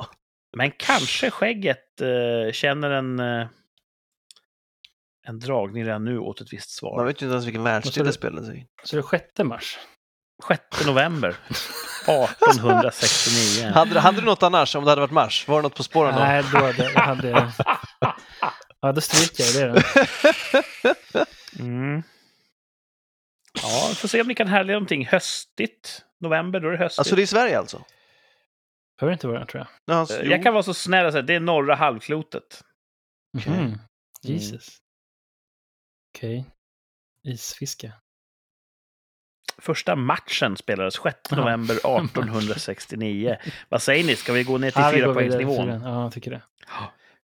Men kanske skägget eh, känner en, eh, en dragning redan nu åt ett visst svar.
Man vet ju inte ens vilken
Vad sa
världsdel
du?
det spelar sig i.
Så det är sjätte mars.
6 november 1869.
Hade, hade du något annars om det hade varit mars? Var det något På spåren då?
Nej, då hade jag hade... Ja, då stryker jag det.
Mm. Ja, vi får se om ni kan härleda någonting höstigt. November, då är det höstigt.
Alltså det är i Sverige alltså?
Behöver inte vara den, tror
Ja, Alltså,
Eh, Jag kan vara så snäll och säga att det är norra halvklotet.
jag.
Okej.
Mm.
Mhm. Jesus. Okej. Isfiske.
Första matchen spelades 6 november 1869. Vad säger ni, ska vi gå ner till
Ja, vi
fyra
går vidare till
poängsnivån?
den. Ja, jag tycker det.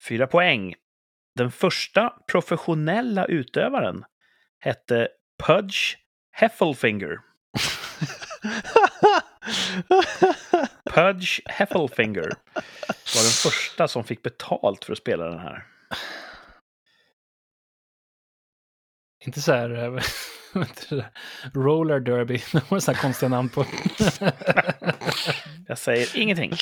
Fyra poäng. Den första professionella utövaren hette Pudge Heffelfinger. Pudge Heffelfinger var den första som fick betalt för att spela den här.
Inte så här... eh, vad heter det? Roller derby. De har så här konstiga namn på.
Jag säger ingenting.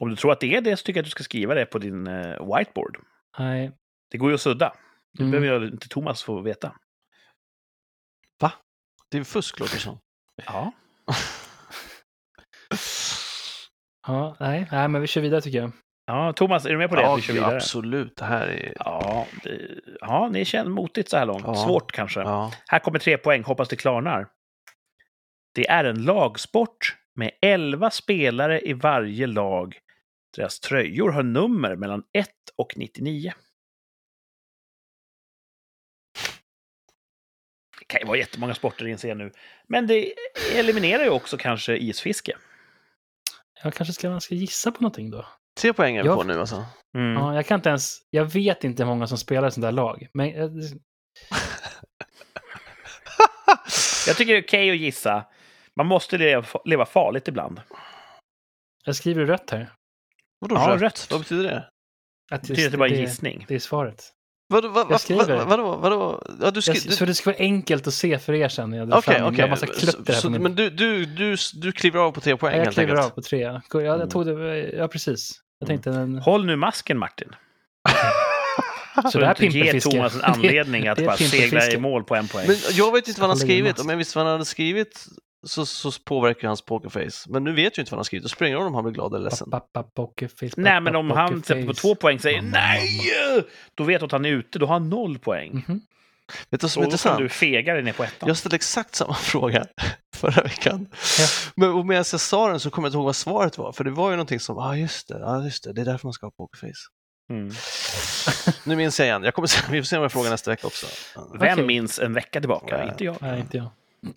Om du tror att det är det så tycker jag att du ska skriva det på din eh, whiteboard.
Nej.
Det går ju att sudda. Det
Mm.
behöver jag inte Thomas få veta.
Det är fusk låter det som.
Ja.
Ja, nej. nej, men vi kör vidare tycker jag.
ja. Thomas, är du med på det? att vi kör vidare?
absolut. Det här är...
Ja, det, ja, ni känner motigt så här långt.
Ja.
Svårt kanske.
Ja.
Här kommer tre poäng, hoppas det klarnar. Det är en lagsport med 11 spelare i varje lag. Deras tröjor har nummer mellan 1 och 99. Det kan ju vara jättemånga sporter inser jag nu. Men det eliminerar ju också kanske isfiske.
Jag kanske ska, ska gissa på någonting då.
Tre poäng är vi
Jag-
på nu alltså.
Mm.
Ja, jag kan inte ens... Jag vet inte hur många som spelar i sånt där lag. Men eh, jag,
Jag tycker det är okej att gissa. Man måste leva, leva farligt ibland.
jag skriver rött här.
Vadå
Ja,
rött?
rött.
Vad betyder det?
Att
Det betyder att det bara är en
det-
gissning.
Det är svaret.
Vadå? Vad, vad,
skriver.
vad, vadå, vadå? Ja, du skri...
Jag, så det ska vara enkelt att se för er sen. när Jag drar
Okej,
fram min- Jag har massa klutter
okej.
här
Så-
på min...
Men du, du, du, du kliver av på tre poäng
jag
helt
kliver av
enkelt?
på tre. Jag, jag tog det... eh, Ja, precis. Jag tänkte... Men,
Mm. Håll nu masken, Martin. Så
det
du inte
här
ger
pimpelfiske.
Thomas en anledning att
det är
bara segla i
pimpelfiske.
mål på en poäng.
Men jag vet inte vad han har
Håller i
skrivit.
mask.
Om jag visste vad han hade skrivit så, så påverkar hans pokerface. Men nu vet jag inte vad han har skrivit. Då springer om han blir glad eller ledsen.
Nej, men om han sätter på två poäng säger nej, då vet du att han är ute. Då har han noll poäng.
mm
Vet du vad som är
Och då kan
intressant?
du fega dig ner på ettan.
Jag ställde exakt samma fråga förra veckan.
Ja.
Men och medan jag sa den så kommer jag inte ihåg vad svaret var. För det var ju någonting som, ja ah, just det, ah, just det, det är därför man ska ha pokerface.
Mm.
Nu minns jag igen. Jag kommer, se- vi får se om jag frågar nästa vecka också.
Vem
Okej.
minns en vecka tillbaka?
Nej.
Inte jag.
Nej, inte jag.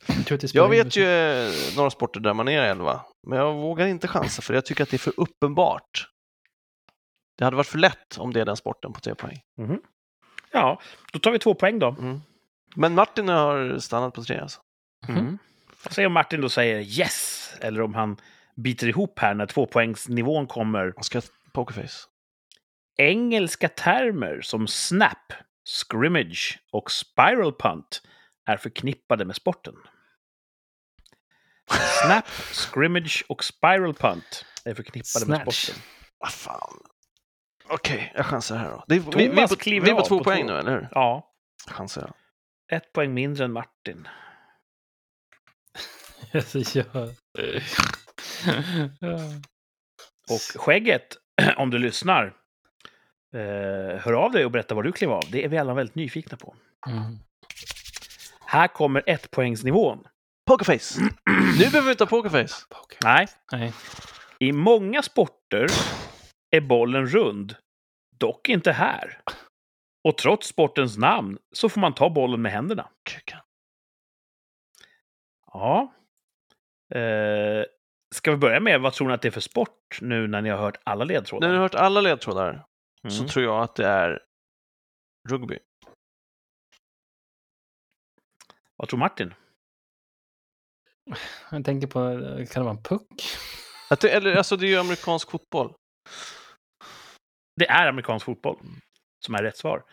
Jag, tror att det spelar
Jag
in
vet
musik.
ju eh, några sporter där man är elva, men jag vågar inte chansa för jag tycker att det är för uppenbart. Det hade varit för lätt om det är den sporten på tre poäng. Mm.
Ja, då tar vi två poäng då.
Men Martin har stannat på tre alltså.
Mhm.
Mm. Se om Martin då säger yes, eller om han biter ihop här när tvåpoängsnivån kommer.
Jag ska pokerface.
Engelska termer som snap, scrimmage och spiral punt är förknippade med sporten. Snap, scrimmage och spiral punt är förknippade med
Snatch.
sporten.
Vad Ah, fan. Okej, jag chansar här då. Det är, vi, vi, är
Thomas
på, vi
kliver
är på
av
två
på
poäng
två.
nu, eller hur?
Ja,
Chansar jag.
ett poäng mindre än Martin.
Alltså, jag... Ja.
Och skägget, om du lyssnar, eh, hör av dig och berätta vad du klev av. Det är vi alla väldigt nyfikna på.
Mm.
Här kommer ett poängsnivån.
Pokerface! nu behöver vi inte ha pokerface.
Poker.
Nej,
Nej.
i många sporter är bollen rund, dock inte här. Och trots sportens namn så får man ta bollen med händerna.
Kuken.
Ja. Eh, ska vi börja med vad tror ni att det är för sport nu när ni har hört alla ledtrådar?
När du har hört alla ledtrådar så
Mm.
tror jag att det är rugby.
Vad tror Martin?
Jag tänker på, kan det vara en puck?
Att det, eller, alltså det är ju amerikansk fotboll.
Det är amerikansk fotboll som är rätt svar.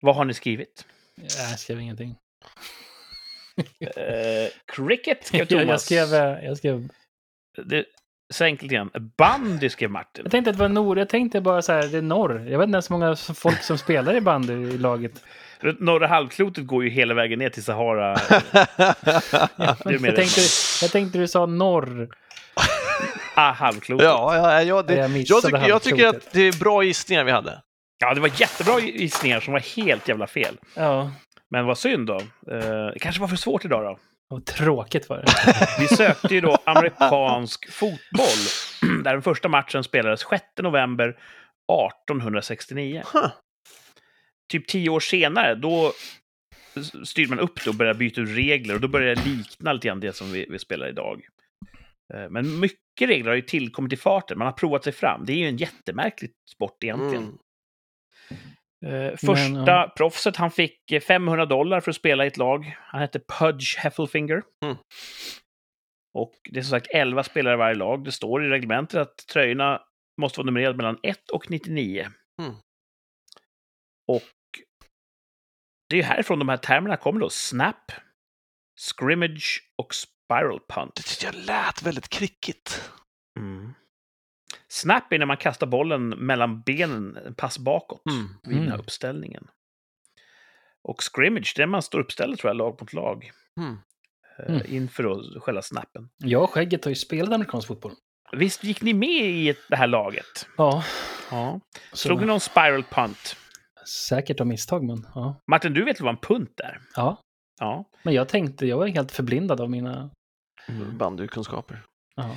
Vad har ni skrivit?
Nej, Jag skrev ingenting.
Eh, cricket skrev
Jag,
Thomas.
jag, skrev, eh, jag, skrev,
Det, så enkelt igen. Bandy skrev Martin.
jag tänkte att det var norr, jag tänkte bara så här, det är norr. Jag vet inte ens hur många som- folk som spelar i bandy i laget.
Norra halvklotet går ju hela vägen ner till Sahara. Det är mer
jag,
det.
tänkte, jag tänkte du sa norr.
Ah, halvklotet. Ja.
Ja, ja, ja det,
Jag
jag,
missade
tycker, jag tycker
halvklotet.
att det är bra gissningar vi hade.
det var jättebra gissningar som var helt jävla fel.
Ja,
Men vad synd då. Eh, det kanske var för svårt idag då.
vad tråkigt var det.
Vi sökte ju då amerikansk fotboll. Där den första matchen spelades 6 november 1869.
Huh.
Typ tio år senare, då styrde man upp det och började byta ut regler och då började det likna lite grann det som vi, vi spelar idag. Eh, Men mycket regler har ju tillkommit i farten, man har provat sig fram. Det är ju en jättemärklig sport egentligen.
Mm.
Eh, första
Men, ja.
proffset, han fick eh, 500 dollar för att spela i ett lag. Han hette Pudge Heffelfinger.
Mm.
Och det är som sagt 11 spelare i varje lag. Det står i reglementet att tröjorna måste vara numrerade mellan 1 och 99.
Mm.
Och det är ju härifrån de här termerna kommer då. Snap, scrimmage och spiral punt.
Det tyckte jag lät väldigt krickigt.
Mm.
Snap är när man kastar bollen mellan benen, en pass bakåt vid den här
Mm.
uppställningen. Och scrimmage, det är man står uppställd tror jag, lag mot lag.
Mm.
eh,
Mm.
Inför då själva snappen.
Jag och skägget har ju spelat amerikansk fotboll.
Visst gick ni med i ett- det här laget?
Ja,
Ja.
så
Slog ni någon spiral punt?
säkert av misstag, men ja.
Martin, du vet väl vad en punt är?
ja.
Ja.
Men jag tänkte, jag var helt förblindad av mina...
Bandykunskaper.
Ja.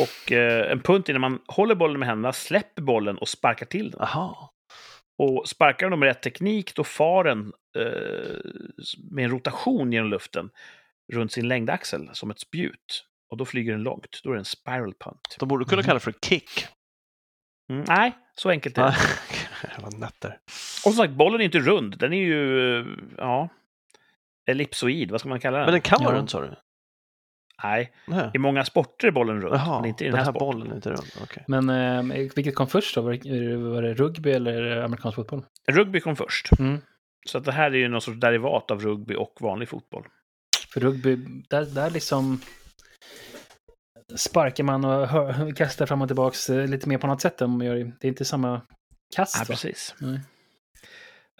Och eh, en punt är när man håller bollen med händerna, släpper bollen och sparkar till den.
Aha.
Och sparkar de med rätt teknik, då far den eh, med en rotation genom luften runt sin längdaxel som ett spjut. Och då flyger den långt. Då är det en spiral punt.
De borde kunna
Mhm.
kalla det för kick.
Mm, nej, så enkelt är det.
Ah, Vad nötter.
Och som sagt, bollen är inte rund. Den är ju, eh, ja, ellipsoid. Vad ska man kalla den?
Men den kan vara
Ja.
rund sa du?
Nej,
Nej.
i många sporter är bollen rund.
Jaha,
men inte i
den
den här,
här
sporten.
bollen är inte rund. Okej.
Men eh, vilket kom först då? Var det, var det rugby eller amerikansk fotboll?
Rugby kom först.
Mm.
Så att det här är ju någon sorts derivat av rugby och vanlig fotboll.
För rugby, där, där liksom sparkar man och hö- kastar fram och tillbaks eh, lite mer på något sätt. än man gör i- Det är inte samma kast.
Ja,
va?
precis.
Nej.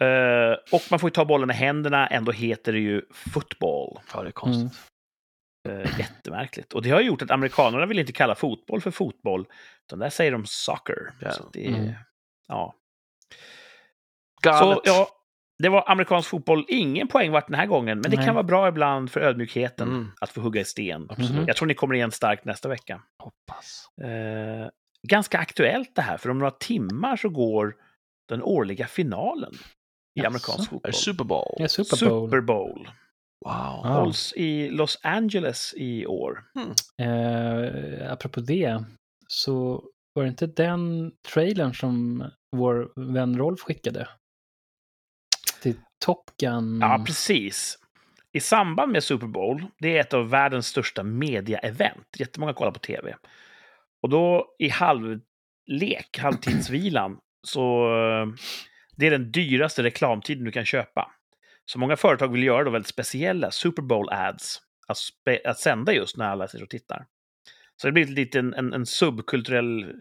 Eh, och man får ju ta bollen i händerna. Ändå heter det ju football.
Ja, det är konstigt.
Mm.
Eh, jättemärkligt. Och det har gjort att amerikanerna vill inte kalla fotboll för fotboll, utan där säger de soccer.
Ja.
Så att det,
Mm.
ja.
Galet.
Så, ja, det var amerikansk fotboll. Ingen poäng vart den här gången, men det
Nej.
kan vara bra ibland för ödmjukheten
Mm.
att få hugga i sten.
Absolut.
Mhm.
Jag tror ni kommer igen starkt nästa vecka.
Hoppas.
Eh, ganska aktuellt det här, för om några timmar så går den årliga finalen i
Jaså?
amerikansk
Är
fotboll.
det Super Bowl?
Ja, Super Bowl.
Super Bowl.
Wow.
Ja.
Hålls i Los Angeles i år.
Eh, apropå det, så var det inte den trailern som vår vän Rolf skickade? Till Top Gun?
Ja, precis. I samband med Super Bowl, det är ett av världens största media-event. Jättemånga kollar på tv. Och då i halvlek, halvtidsvilan, så eh, det är den dyraste reklamtiden du kan köpa. Så många företag vill göra då väldigt speciella Super Bowl-ads att, spe- att sända just när alla sitter och tittar. Så det blir lite en, en, en subkulturell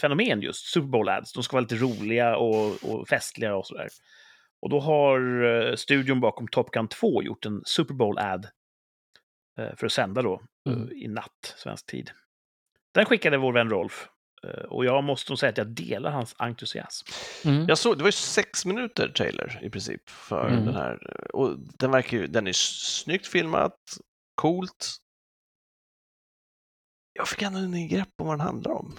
fenomen just, Super Bowl-ads. De ska vara lite roliga och, och festliga och sådär. Och då har eh, studion bakom Top Gun 2 gjort en Super Bowl-ad eh, för att sända då eh,
Mm.
i natt, svensk tid. Den skickade vår vän Rolf. eh, Och jag måste nog säga att jag delar hans entusiasm.
Mm.
Jag såg, det var ju sex minuter trailer i princip för
Mm-hmm.
Mm.
den här. Och den verkar ju, den är snyggt filmat, coolt. Jag fick ändå ingen grepp om vad den handlar om.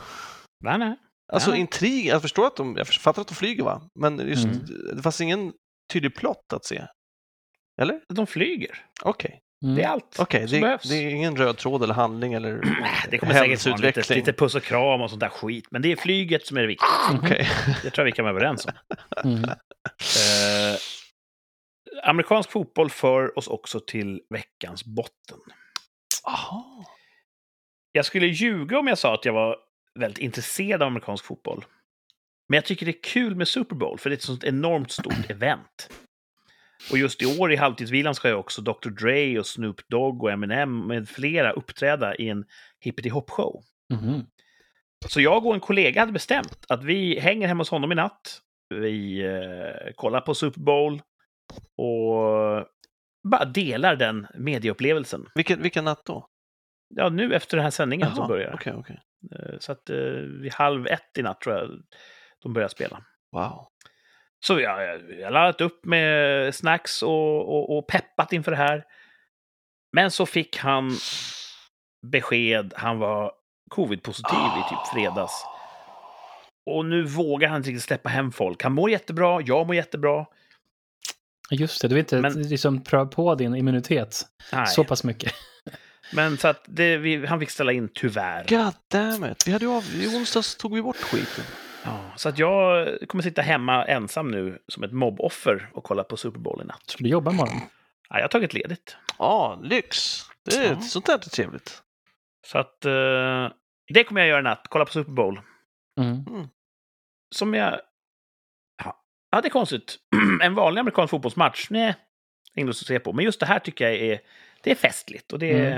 Nej, nej.
Alltså
Ja.
intrig, jag förstår att de, jag fattar att de flyger va, men just,
Mm.
det fanns ingen tydlig plott att se. Eller?
De flyger.
Okej,
Mm.
Det är allt
okej,
som
det,
behövs.
det är ingen röd tråd eller handling eller
Nej, det kommer säkert vara lite,
händelseutveckling.
lite puss och kram och sånt där skit. Men det är flyget som är det viktiga.
Okej.
Det tror jag vi kan vara överens om.
Mm.
Eh, amerikansk fotboll för oss också till veckans botten.
Aha.
Jag skulle ljuga om jag sa att jag var väldigt intresserad av amerikansk fotboll. Men jag tycker det är kul med Super Bowl, för det är ett sånt enormt stort event. Och just i år i halvtidsvilan ska jag också Dr. Dre och Snoop Dogg och Eminem med flera uppträda i en hippity-hop-show.
Mhm.
Så jag och en kollega hade bestämt att vi hänger hemma hos honom i natt. Vi eh, kollar på Super Bowl och bara delar den medieupplevelsen.
Vilken, vilken natt då?
Ja, nu efter den här sändningen som börjar.
okej, okej.
Eh, Så att eh, vid halv ett i natt tror jag de börjar spela.
Wow.
Så jag jag har laddat upp med snacks och, och, och peppat inför det här. Men så fick han besked. Han var covid-positiv i typ fredags. Och nu vågar han inte riktigt släppa hem folk. Han mår jättebra, jag mår jättebra.
Just det, du vill inte
Men-
liksom pröva på din immunitet
Nej.
så pass mycket.
Men så att det, vi, han fick ställa in tyvärr.
God damn it. Vi hade ju av... I onsdags tog vi bort skiten.
Ja, så att jag kommer sitta hemma ensam nu som ett mobboffer och kolla på Super Bowl i natt.
Ska du jobba imorgon?
Ja, jag har tagit ledigt.
Ja, lyx. Det är
Ja.
sånt där är trevligt.
Så att eh, det kommer jag göra i natt, kolla på Super Bowl.
Mm.
Som jag... Ja, ja det är konstigt. en vanlig amerikansk fotbollsmatch, nej, inget att se på. Men just det här tycker jag är, det är festligt. Och det, är,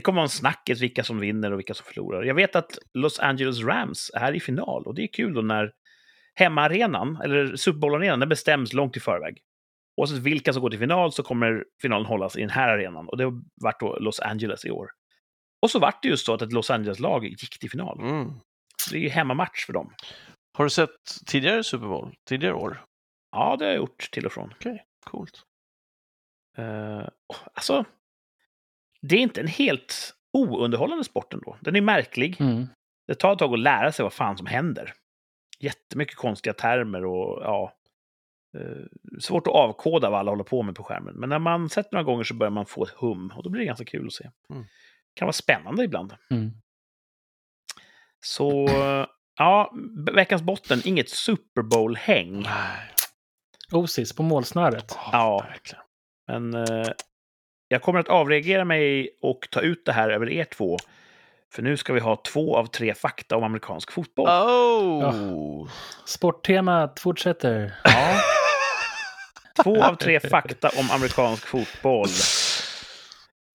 det kommer vara en snackis vilka som vinner och vilka som förlorar. Jag vet att Los Angeles Rams är i final och det är kul då när hemmaarenan, eller Super Bowl-arenan, den bestäms långt i förväg. Oavsett vilka som går till final så kommer finalen hållas i den här arenan. Och det har varit då Los Angeles i år. Och så vart det just så att ett Los Angeles-lag gick till final.
Mm.
Så det är ju hemmamatch för dem.
Har du sett tidigare Super Bowl? Tidigare år?
Ja, det har jag gjort till och från.
Coolt.
Eh, alltså, det är inte en helt ounderhållande sport ändå. Den är märklig.
Mm.
Det tar ett tag att lära sig vad fan som händer. Jättemycket konstiga termer och ja, eh, svårt att avkoda vad alla håller på med på skärmen. Men när man sett några gånger så börjar man få ett hum och då blir det ganska kul att se.
Mm.
kan vara spännande ibland.
Mm.
Så ja, veckans botten, inget Super Bowl-häng.
Nej.
Osis på målsnöret.
Ja.
verkligen.
Men eh, jag kommer att avreagera mig och ta ut det här över er två. För nu ska vi ha två av tre fakta om amerikansk fotboll.
Oh!
Sporttemat fortsätter.
Ja. Två av tre fakta om amerikansk fotboll.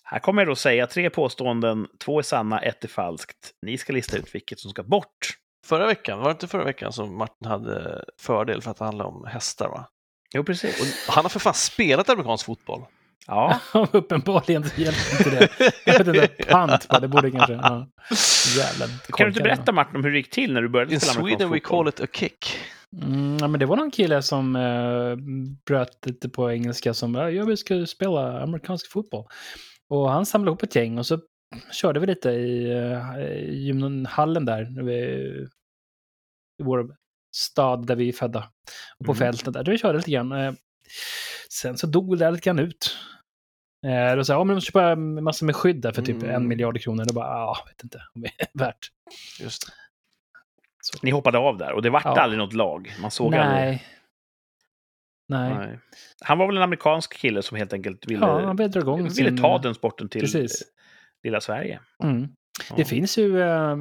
Här kommer jag då säga tre påståenden. Två är sanna, ett är falskt. Ni ska lista ut vilket som ska bort.
Förra veckan, var det inte förra veckan som Martin hade fördel för att det handlade om hästar? va?
Jo, precis.
Och han har för fan spelat amerikansk fotboll.
Ja,
Uppenbarligen så hjälpte inte det. Jag vet inte, pant på det borde kanske... Ja. Jävla
kan du inte berätta, Martin, om hur det gick till när du började
In
spela
Sweden
amerikansk
we
fotboll?
call it a kick.
Mm, ja, men det var någon kille som eh, bröt lite på engelska som "Ja, jag vill ska spela amerikansk fotboll. Och han samlade ihop ett gäng och så körde vi lite i eh, gymnhallen där, när vi- i vår stad där vi är födda. Och på
Mm.
fältet där, där vi körde lite grann. Eh, sen så dog det där lite grann ut. Eh, då sa jag, ja men de måste köpa massor med skydd där för typ
Mm.
en miljard kronor. Då bara, ja, vet inte om det är värt.
Just det.
Ni hoppade av där och det vart
Ja.
aldrig något lag. Man såg aldrig.
Nej. Nej.
Nej. Han var väl en amerikansk kille som helt enkelt ville
Ja, han vill dra igång
ville
sin-
ta den sporten till eh,
Precis.
lilla Sverige.
Mm.
Ja.
Det finns ju, eh,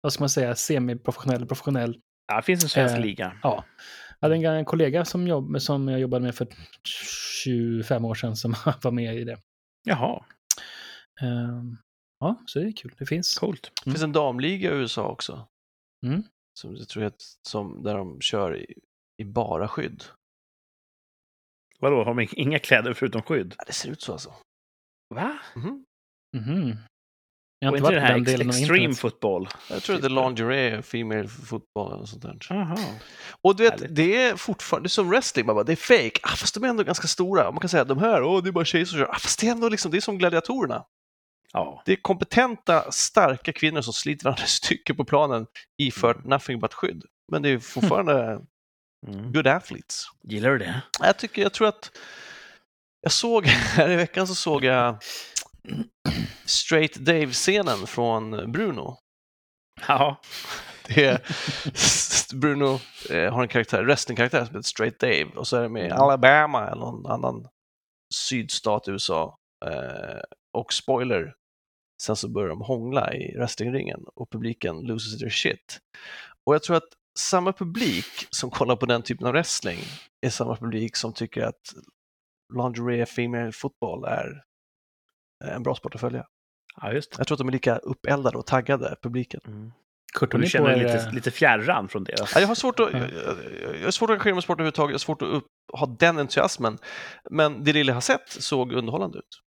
vad ska man säga, semiprofessionell och professionell.
Ja, det finns en svensk
Eh,
liga.
Ja. Jag hade en kollega som, jobb, som jag jobbade med för 25 år sedan som var med i det.
Jaha,
Eh, Ja, så det är kul. Det finns.
coolt.
Det finns en damliga i USA också.
Mm.
Som, jag tror jag, som, där de kör i, i bara skydd.
Vadå, har de inga kläder förutom skydd?
Ja, det ser ut så alltså.
Va?
Mhm.
Mhm. Jag
Och
har inte
inte
varit
den
på
här
den
ex-
delen av
extreme
internet.
football?
Jag tror att det är lingerie, female fotboll eller sånt där.
Jaha.
Och du
Härligt.
vet, det är fortfarande det är som wrestling, man bara, det är fake. Ah, fast de är ändå ganska stora. Man kan säga de här, åh, det är bara tjejer som kör. Ah, fast det är ändå liksom, det är som gladiatorerna.
Ja.
Det är kompetenta, starka kvinnor som sliter varandra i stycken på planen ifört nothing but skydd. Men det är fortfarande
Mm.
good athletes.
Gillar du det?
Jag, tycker, jag tror att jag såg, här i veckan så såg jag Straight Dave-scenen från Bruno.
Ja.
Det är, Bruno eh, har en karaktär, wrestlingkaraktär som heter Straight Dave och så är det med Alabama eller någon annan sydstat i USA. Eh, och spoiler, sen så börjar de hångla i wrestlingringen och publiken loses their shit. Och jag tror att samma publik som kollar på den typen av wrestling är samma publik som tycker att lingerie female football är eh, en bra sport att följa.
Ja, just det.
Jag tror att de är lika uppeldade och taggade, publiken.
Mm.
Kurt,
Och du
har ni på
känner dig
er, eh,
lite,
lite...
lite fjärran från deras...
Ja, jag har svårt att, jag,
Mm.
jag, jag har svårt att engagera mig i sport överhuvudtaget, jag har svårt att upp, ha den entusiasmen. Men det lilla jag har sett såg underhållande ut.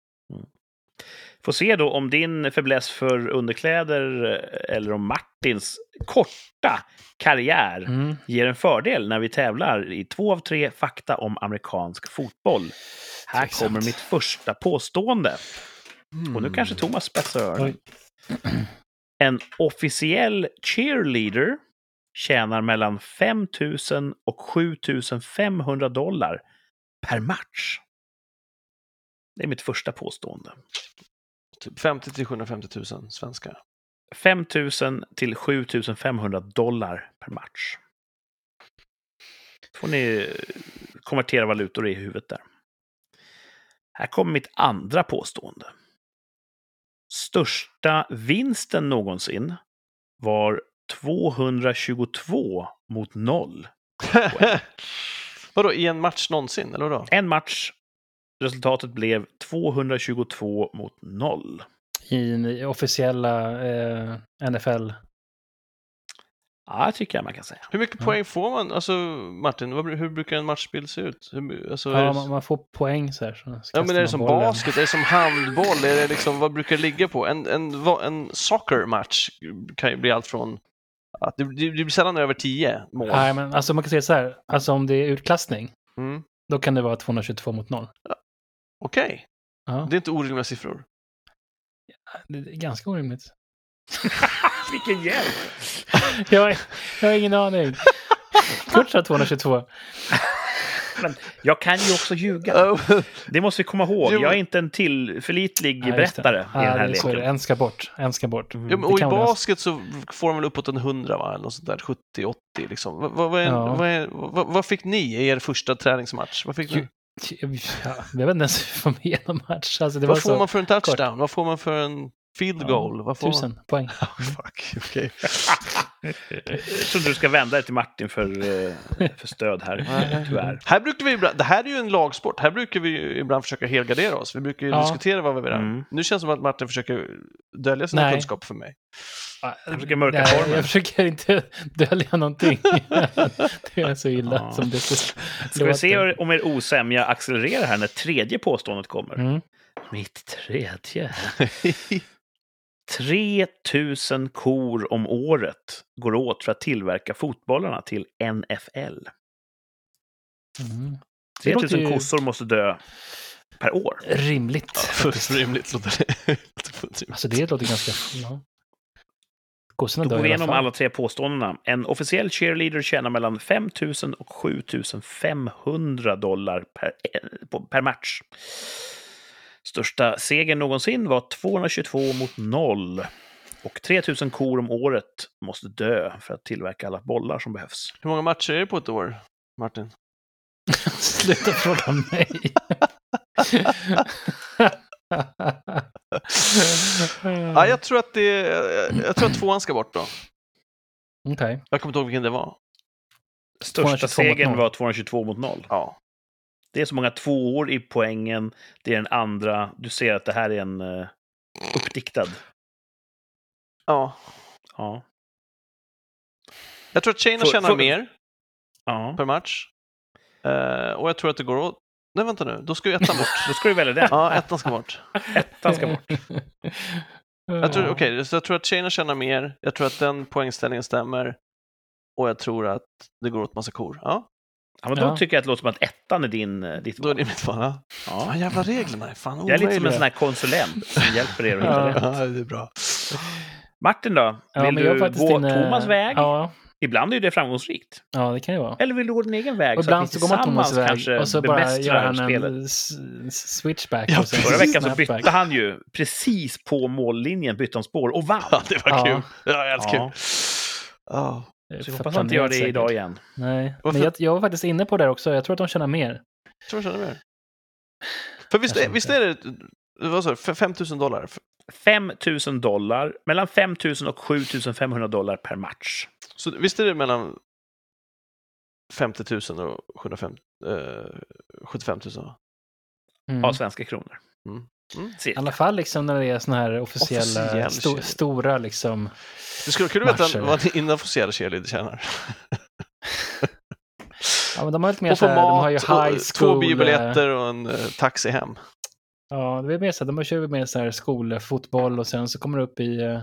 Får se då om din fäbless för underkläder eh, eller om Martins korta karriär
mm.
ger en fördel när vi tävlar i två av tre fakta om amerikansk fotboll. Här
Tveksamt.
kommer mitt första påstående.
Mm.
Och nu
Mm.
kanske Thomas spetsar öronen.
Oj.
En officiell cheerleader tjänar mellan 5 000 och 7 500 dollar per match. Det är mitt första påstående.
Typ 50 till 750 000 svenskar.
5 000 till 7 500 dollar per match. får ni eh, konvertera valutor i huvudet där. Här kommer mitt andra påstående. Största vinsten någonsin var 222 mot 0.
Vadå, i en match någonsin? Eller vadå?
En match. Resultatet blev 222 mot 0.
i den officiella eh, NFL.
Ja, det tycker jag man kan säga.
Hur mycket
Ja.
poäng får man? Alltså Martin, vad, hur brukar en matchbild se ut? Hur, alltså, är
Ja,
det,
man, man får poäng så här. Så kastar
ja, men är
man
det som
bollen.
basket? Är det som handboll? Är det liksom, vad brukar det ligga på? En, en, va- en soccermatch kan ju bli allt från... Att det, det det blir sällan över 10 mål.
Nej, men alltså man kan säga så här. Alltså om det är utklassning,
Mm.
då kan det vara 222 mot 0.
Okej,
Ja,
det är inte orimliga siffror.
det, det är ganska orimligt.
Vilken hjälp!
Jag, har- jag har ingen aning. Kurt sa 222.
Jag kan ju också ljuga.
Eh,
Det måste vi komma ihåg.
Jo.
Jag är inte en tillförlitlig
Ja, just det.
berättare i den
Ja,
här
det är så det är.
leken.
En ska bort. En ska bort.
Ja, men,
Det
och i
kan vara det.
basket så får de väl uppåt en 100, va? Eller något sånt där, 70-80 liksom. Vad, vad, vad, är, en-
Ja.
vad, är, vad, vad fick ni i er första träningsmatch? Vad, fick ni?
Ju- Ja, jag vet inte ens hur man är i en match. Alltså, det var
vad får
så...
man för en touchdown? Vad får man för en field
Ja,
goal? Vad får
Tusen poäng.
Man? Fuck, okej.
Jag tror inte du ska vända dig till Martin för, eh, för stöd här, tyvärr.
Här brukar vi ibland, det här är ju en lagsport. Här brukar vi ju ibland försöka helgardera oss. Vi brukar ju
Ja.
diskutera vad vi vill.
Mm.
Nu känns det som att Martin försöker dölja sina
Nej.
kunskaper för mig.
Jag försöker mörka
Nej,
formen.
Jag försöker inte dölja någonting. det är så illa
Ja.
som det
Ska vi se hur- om er osämja accelererar här när tredje påståendet kommer?
Mm.
Mitt tredje. 3000 kor om året går åt för att tillverka fotbollarna till NFL.
Mm. Det låter
3000
ju-
kossor måste dö per år.
Rimligt.
Fullt rimligt låter det. Fullt rimligt.
Alltså det låter ganska... Ja. Kossorna
Då
dör
går vi
i alla
igenom
fall.
alla tre påståendena. En officiell cheerleader tjänar mellan 5 000 och 7 500 dollar per, eh, på- per match. Största segern någonsin var 222 mot 0. Och 3 000 kor om året måste dö för att tillverka alla bollar som behövs.
Hur många matcher är det på ett år, Martin?
Sluta fråga mig. Mm.
Ja, jag, tror att det, jag, jag tror att tvåan ska bort då.
Okej.
Jag kommer inte ihåg vilken det var.
Största
222 mot
segern
noll.
var 222 mot 0.
Ja.
Det är så många tvåor i poängen. Det är den andra. Du ser att det här är en eh, uppdiktad.
ja.
Ja.
Jag tror att tjejerna
Får-
tjänar
får-
mer
ja.
per match. Eh, och jag tror att det går åt... Nej, vänta nu. Då ska ju ettan bort.
Då ska du välja den.
Ja, ettan ska bort.
Ettan ska bort.
Jag tror, okej, så jag tror att tjejerna tjänar mer. Jag tror att den poängställningen stämmer. Och jag tror att det går åt massa kor. Ja,
Ja, men då
Ja.
tycker jag att det låter som att ettan är din, eh, ditt
då är
val.
det mitt val. Ja.
Ja.
Fan, jävla reglerna är fan
Jag är lite
omöjliga.
som en sån här konsulent som hjälper er att hitta
Ja.
rätt.
Ja, det är bra.
Martin då?
Ja,
Vill
men jag är
du
faktiskt
gå
inne-
Thomas väg?
Ja,
Ibland är ju det framgångsrikt.
ja, det kan ju vara.
Eller vill du gå din egen väg?
Och ibland
vi
så går man Thomas
tillsammans
väg och så bara gör
bemästrar
han
spelet.
en s- s- switchback.
Ja,
och sen
Förra veckan så
snapback.
bytte han ju precis på mållinjen, bytte han spår och vann.
Ja, det var
Ja.
kul. Ja, jag älskar
Ja.
kul. Ja.
Så
För
jag hoppas han inte gör
planerat
det
säkert.
idag igen.
Nej,
Varför-
men jag, jag var faktiskt inne på det här också. Jag tror att de tjänar mer.
Jag tror jag känner mer. För visst,
Jag
är-
känner
visst
inte.
är det... Vad sa du? 5 000 dollar?
5 000 dollar, mellan 5 000 och 7 500 dollar per match.
Så visst är det mellan 50 000 och 750, eh, 75 000? va?
Mm.
Av svenska kronor.
Mm. Mm.
Cirka.
I alla fall liksom när det är såna här officiella,
Officiell
sto,
shit.
stora liksom.
Det skulle vara kul att veta
Matcher.
vad en inofficiell cheerleader tjänar.
Ja, men de har lite mer
Och
så
får
här, de har ju
mat,
high school.
och, två
eh,
biobiljetter och en eh, taxi hem.
Ja, det är mer så här, de kör mer så här skolfotboll och sen så kommer det upp i eh,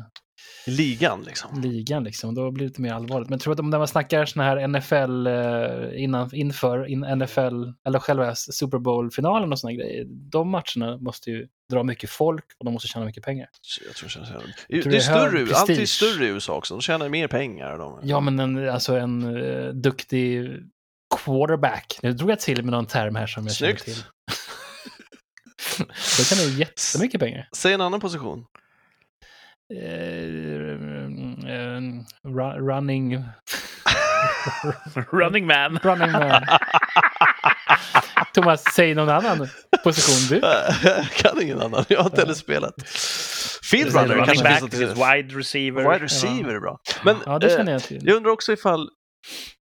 Ligan liksom.
ligan liksom. Då blir det lite mer allvarligt. Men jag tror att om när man snackar såna här NFL eh, innan, inför in, NFL eller själva S- Super Bowl-finalen och såna grejer. De matcherna måste ju dra mycket folk och de måste tjäna mycket pengar.
Jag tror de tjänar,
Jag tror
det är
det är hög
större, i- allt är
prestige.
större i USA också. De tjänar mer pengar. De.
Ja, men en, alltså en eh, duktig quarterback. Nu drog jag till med någon term här som jag
Snyggt.
känner till. Då kan du jättemycket pengar.
Säg en annan position.
Eh, eh, ru- running...
Running man.
Running man. Thomas, säg någon annan position du.
Jag kan ingen annan. Jag har inte heller spelat. Field
Running
runner
Running
kanske
back,
finns något
det finns
till.
wide receiver.
Wide receiver är bra. Men
Ja, det
eh,
känner jag till.
Jag undrar också ifall...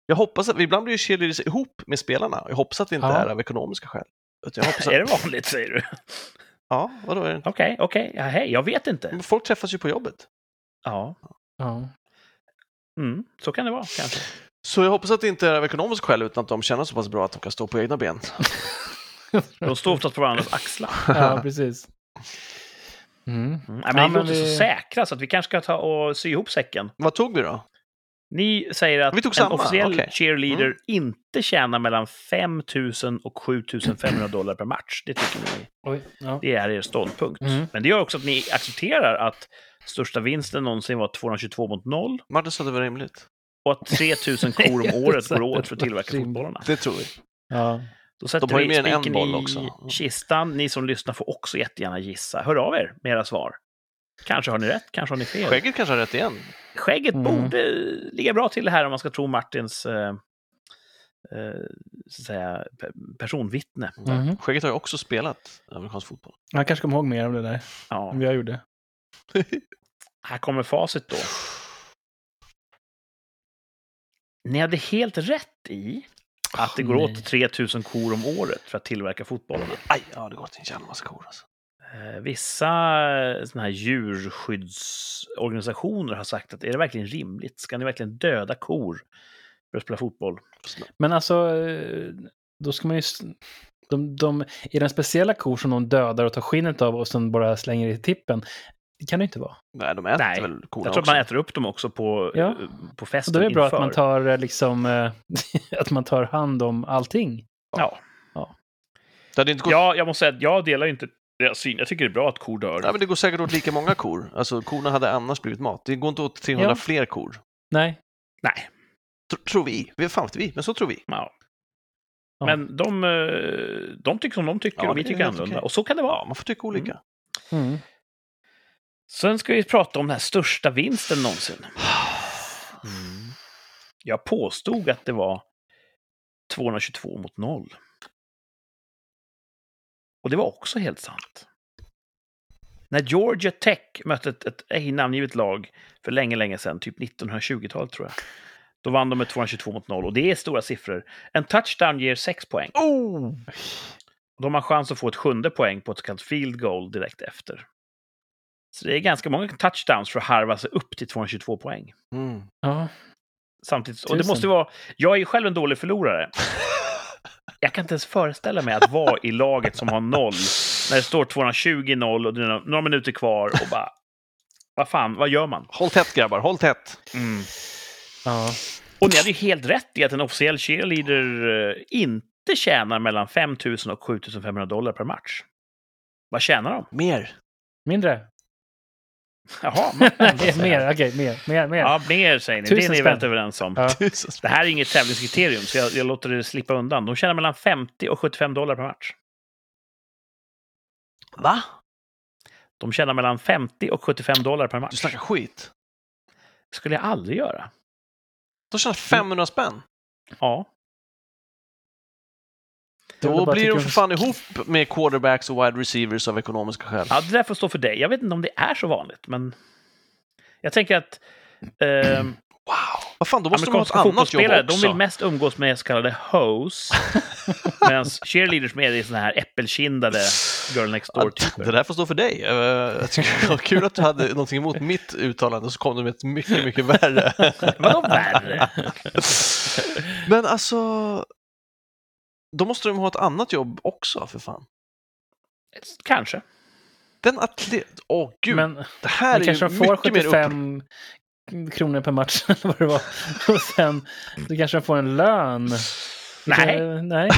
Jag hoppas att... Ibland blir ju cheerleaders ihop med spelarna. Jag hoppas att det inte
Ja.
är av ekonomiska skäl. Utan jag hoppas att...
Är det vanligt, säger du?
Ja, vadå? Är det... inte?
Okej, okej. Ja, hej, jag vet inte.
Men Folk träffas ju på jobbet.
Ja,
Ja.
mm, så kan det vara kanske.
Så jag hoppas att det inte är av ekonomiska skäl utan att de känner så pass bra att de kan stå på egna ben.
De står oftast på varandras axlar.
ja, precis. Mm.
Mm. Nej, men
Ja,
ni
men
låter
vi-
så säkra, så att vi kanske ska ta och sy ihop säcken.
Vad tog vi då?
Ni säger att
Vi tog
en
samma,
officiell
okej.
cheerleader
Mm.
inte tjänar mellan 5 000 och 7 500 dollar per match. Det tycker ni
Oj, ja.
det är er ståndpunkt.
Mm.
Men det gör också att ni accepterar att största vinsten någonsin var 222 mot 0
Martin sa att det var rimligt.
och att 3 000 kor om
Jag
året
sa
går
att det
åt för att
var
tillverka
rimligt.
fotbollarna.
Det tror vi.
Ja.
Då sätter
De har ju
vi
mer än en
spiken
boll
i
också. Mm.
kistan. Ni som lyssnar får också jättegärna gissa. Hör av er med era svar. Kanske har ni rätt, kanske har ni fel.
Skägget kanske har rätt igen.
Skägget
Mm.
borde ligga bra till det här om man ska tro Martins eh, eh, så att säga, pe- personvittne.
Mhm.
Skägget har ju också spelat amerikansk fotboll.
Jag kanske kommer ihåg mer om det där
Ja.
än vad jag gjorde.
Här kommer facit då. Ni hade helt rätt i att det går
Åh, Ah, nej.
åt 3000 kor om året för att tillverka fotbollarna.
Aj, ja, det går till en jävla massa kor alltså.
Eh, Vissa eh, såna här djurskyddsorganisationer har sagt att är det verkligen rimligt? Ska ni verkligen döda kor för att spela fotboll?
Men alltså, eh, då ska man ju... s- De, de, I den speciella kor som de dödar och tar skinnet av och sen bara slänger i tippen, det kan det ju inte vara.
Nej, de äter
Nej,
väl korna
Jag tror att
också.
man äter upp dem också på,
Ja.
eh, på
Så
festen
då är det bra
inför.
att man tar eh, liksom, eh, att man tar hand om allting.
Ja.
Det hade inte gått...
ja, jag måste säga att jag delar ju inte deras syn. Jag tycker det är bra att kor dör.
Nej, men det går säkert åt lika många kor. Alltså, korna hade annars blivit mat. Det går inte åt 300
Ja.
fler kor.
Nej.
Nej.
Tr- tror vi. Vi fan vet vi, men så tror vi.
Ja.
Ja.
Men de, eh, de tycker som de tycker
Ja,
och vi
det är
tycker
helt
annorlunda.
okej.
Och så kan det
Ja,
vara.
man får tycka olika.
Mm.
Sen ska vi prata om den här största vinsten någonsin.
Mm.
Jag påstod att det var 222 mot 0. Och det var också helt sant. När Georgia Tech mötte ett, ett ej namngivet lag för länge, länge sedan, typ 1920-talet tror jag, då vann de med 222 mot 0 och det är stora siffror. En touchdown ger 6 poäng.
Oh!
Och de har chans att få ett sjunde poäng på ett så kallat field goal direkt efter. Så det är ganska många touchdowns för att harva sig upp till 222 poäng.
Mm.
Ja.
Samtidigt, och det
Tusen.
måste ju vara, jag är ju själv en dålig förlorare. Jag kan inte ens föreställa mig att vara i laget som har noll, när det står 220-0 och det är några- några minuter kvar och bara, vad fan, vad gör man?
Håll tätt grabbar, håll tätt.
Mm. ja.
Och ni hade ju helt rätt i att en officiell cheerleader eh, inte tjänar mellan 5 000 och 7 500 dollar per match. Vad tjänar de?
Mer.
Mindre.
Jaha, man
Nej, mer, okej, mer, mer, mer.
Ja, mer säger ni.
Tusen
det är ni
spänn.
väldigt överens om.
Ja.
Tusen
Det här är inget tävlingskriterium, så jag, jag låter det slippa undan. De tjänar mellan 50 och 75 dollar per match.
Va?
De tjänar mellan 50 och 75 dollar per
Du
match.
snackar skit.
skulle jag aldrig göra.
De tjänar 500 spänn.
Ja.
Jag vill
Då
bara
blir de
tycka-
för fan ihop med quarterbacks och wide receivers av ekonomiska skäl.
ja, det där får stå för dig. Jag vet inte om det är så vanligt, men... Jag tänker att eh,
Wow! Vad fan, då måste de ha ett
amerikanska
annat jobb
fotbollsspelare, de
också.
vill mest umgås med så kallade hoes, medan cheerleaders mer är såna här äppelkindade girl next
Ja, det
door-typer.
där får stå för dig. Eh, Jag tycker det var kul att du hade någonting emot mitt uttalande, så kom du med ett mycket, mycket värre.
Vadå värre?
Men alltså, då måste de ha ett annat jobb också, för fan.
Kanske.
Den atlet... Åh gud,
Men
det här
Men
är
kanske
ju
de får
mycket mer upp...
75 kronor per match eller vad det var. Och sen då kanske de får en lön.
Nej.
Eh, nej.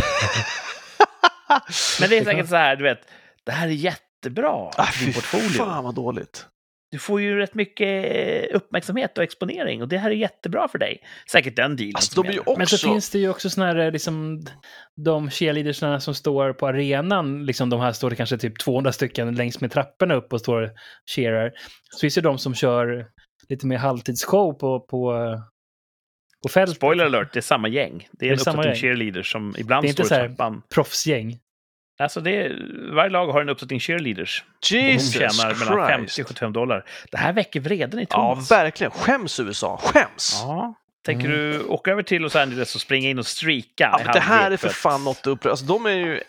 Men det är säkert så här, du vet, det här är jättebra
Ah,
i din
fy
portfolio.
Alltså,
fan vad dåligt.
Du får ju rätt mycket eh, uppmärksamhet och exponering och det här är jättebra för dig. Säkert den dealen.
Alltså,
som
de är ju
gäller.
också...
Men så finns det ju också såna här, liksom, de cheerleadersna som står på arenan, liksom de här står det kanske typ 200 stycken längs med trapporna upp och står och cheerar. Så finns det ju de som kör lite mer halvtidsshow på, på, eh, på fält.
Spoiler alert, det är samma gäng. Det är,
Det är
en
samma
uppsättning
gäng.
cheerleaders som
Det
ibland
är inte
står i
så här-
trappan.
Proffsgäng.
Alltså det är, varje lag har en uppsättning cheerleaders. Och de
Jesus
tjänar mellan 50 och
Christ!
75 dollar. Det här väcker vreden i
Ja,
Thomas.
verkligen. Skäms USA! Skäms!
Ja. Tänker
Mm.
du åka över till Los Angeles och springa in och streaka?
Ja,
i
men det här är
halvlek
för fan något upprörande. Alltså, de är ju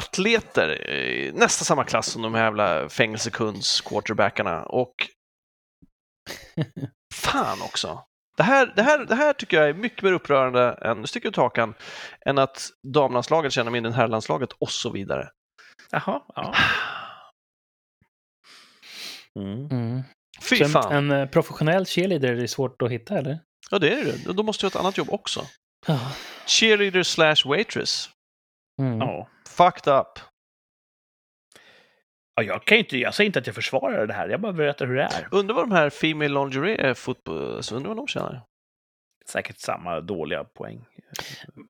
atleter, eh, nästan samma klass som de här jävla fängelsekunds-quarterbackarna. Och fan också. Det här, det, här, det här tycker jag är mycket mer upprörande än, nu sticker jag ut hakan, än att damlandslaget känner mindre än herrlandslaget och så vidare.
Jaha, ja. Mm.
Mm.
Fy
Så
fan.
en, en eh, professionell cheerleader är svårt att hitta, eller?
Ja, det är det. Då måste jag ha ett annat jobb också.
Ja.
Cheerleader slash waitress.
Mm.
Ja.
Fucked up.
Ja, jag, kan ju inte, jag säger inte att jag försvarar det här, jag bara berättar hur det är.
Undrar vad de här Female Lingerie är fotboll... så Undrar vad de tjänar.
Säkert samma dåliga poäng.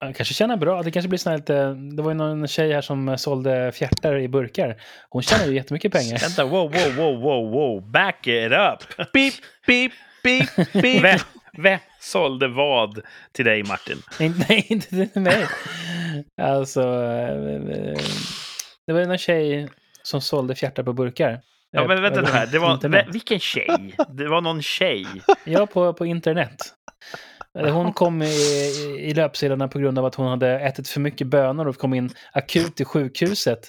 Man kanske tjänar bra. Det kanske blir sån här lite, det var ju någon tjej här som eh, sålde fjärtar i burkar. Hon tjänar ju jättemycket pengar.
Vänta, wow, wow, wow, wow, wow, back it up!
Beep, beep, beep, beep.
Vem, vem sålde vad till dig, Martin?
Nej, inte till mig. Alltså, eh, eh, det var ju någon tjej som sålde fjärtar på burkar.
Ja,
Eh,
men vänta nu här, det var,
internet.
vä- vilken tjej? Det var någon tjej.
Ja, på, på internet. Eh, Hon kom i, i- i löpsedlarna på grund av att hon hade ätit för mycket bönor och kom in akut till sjukhuset.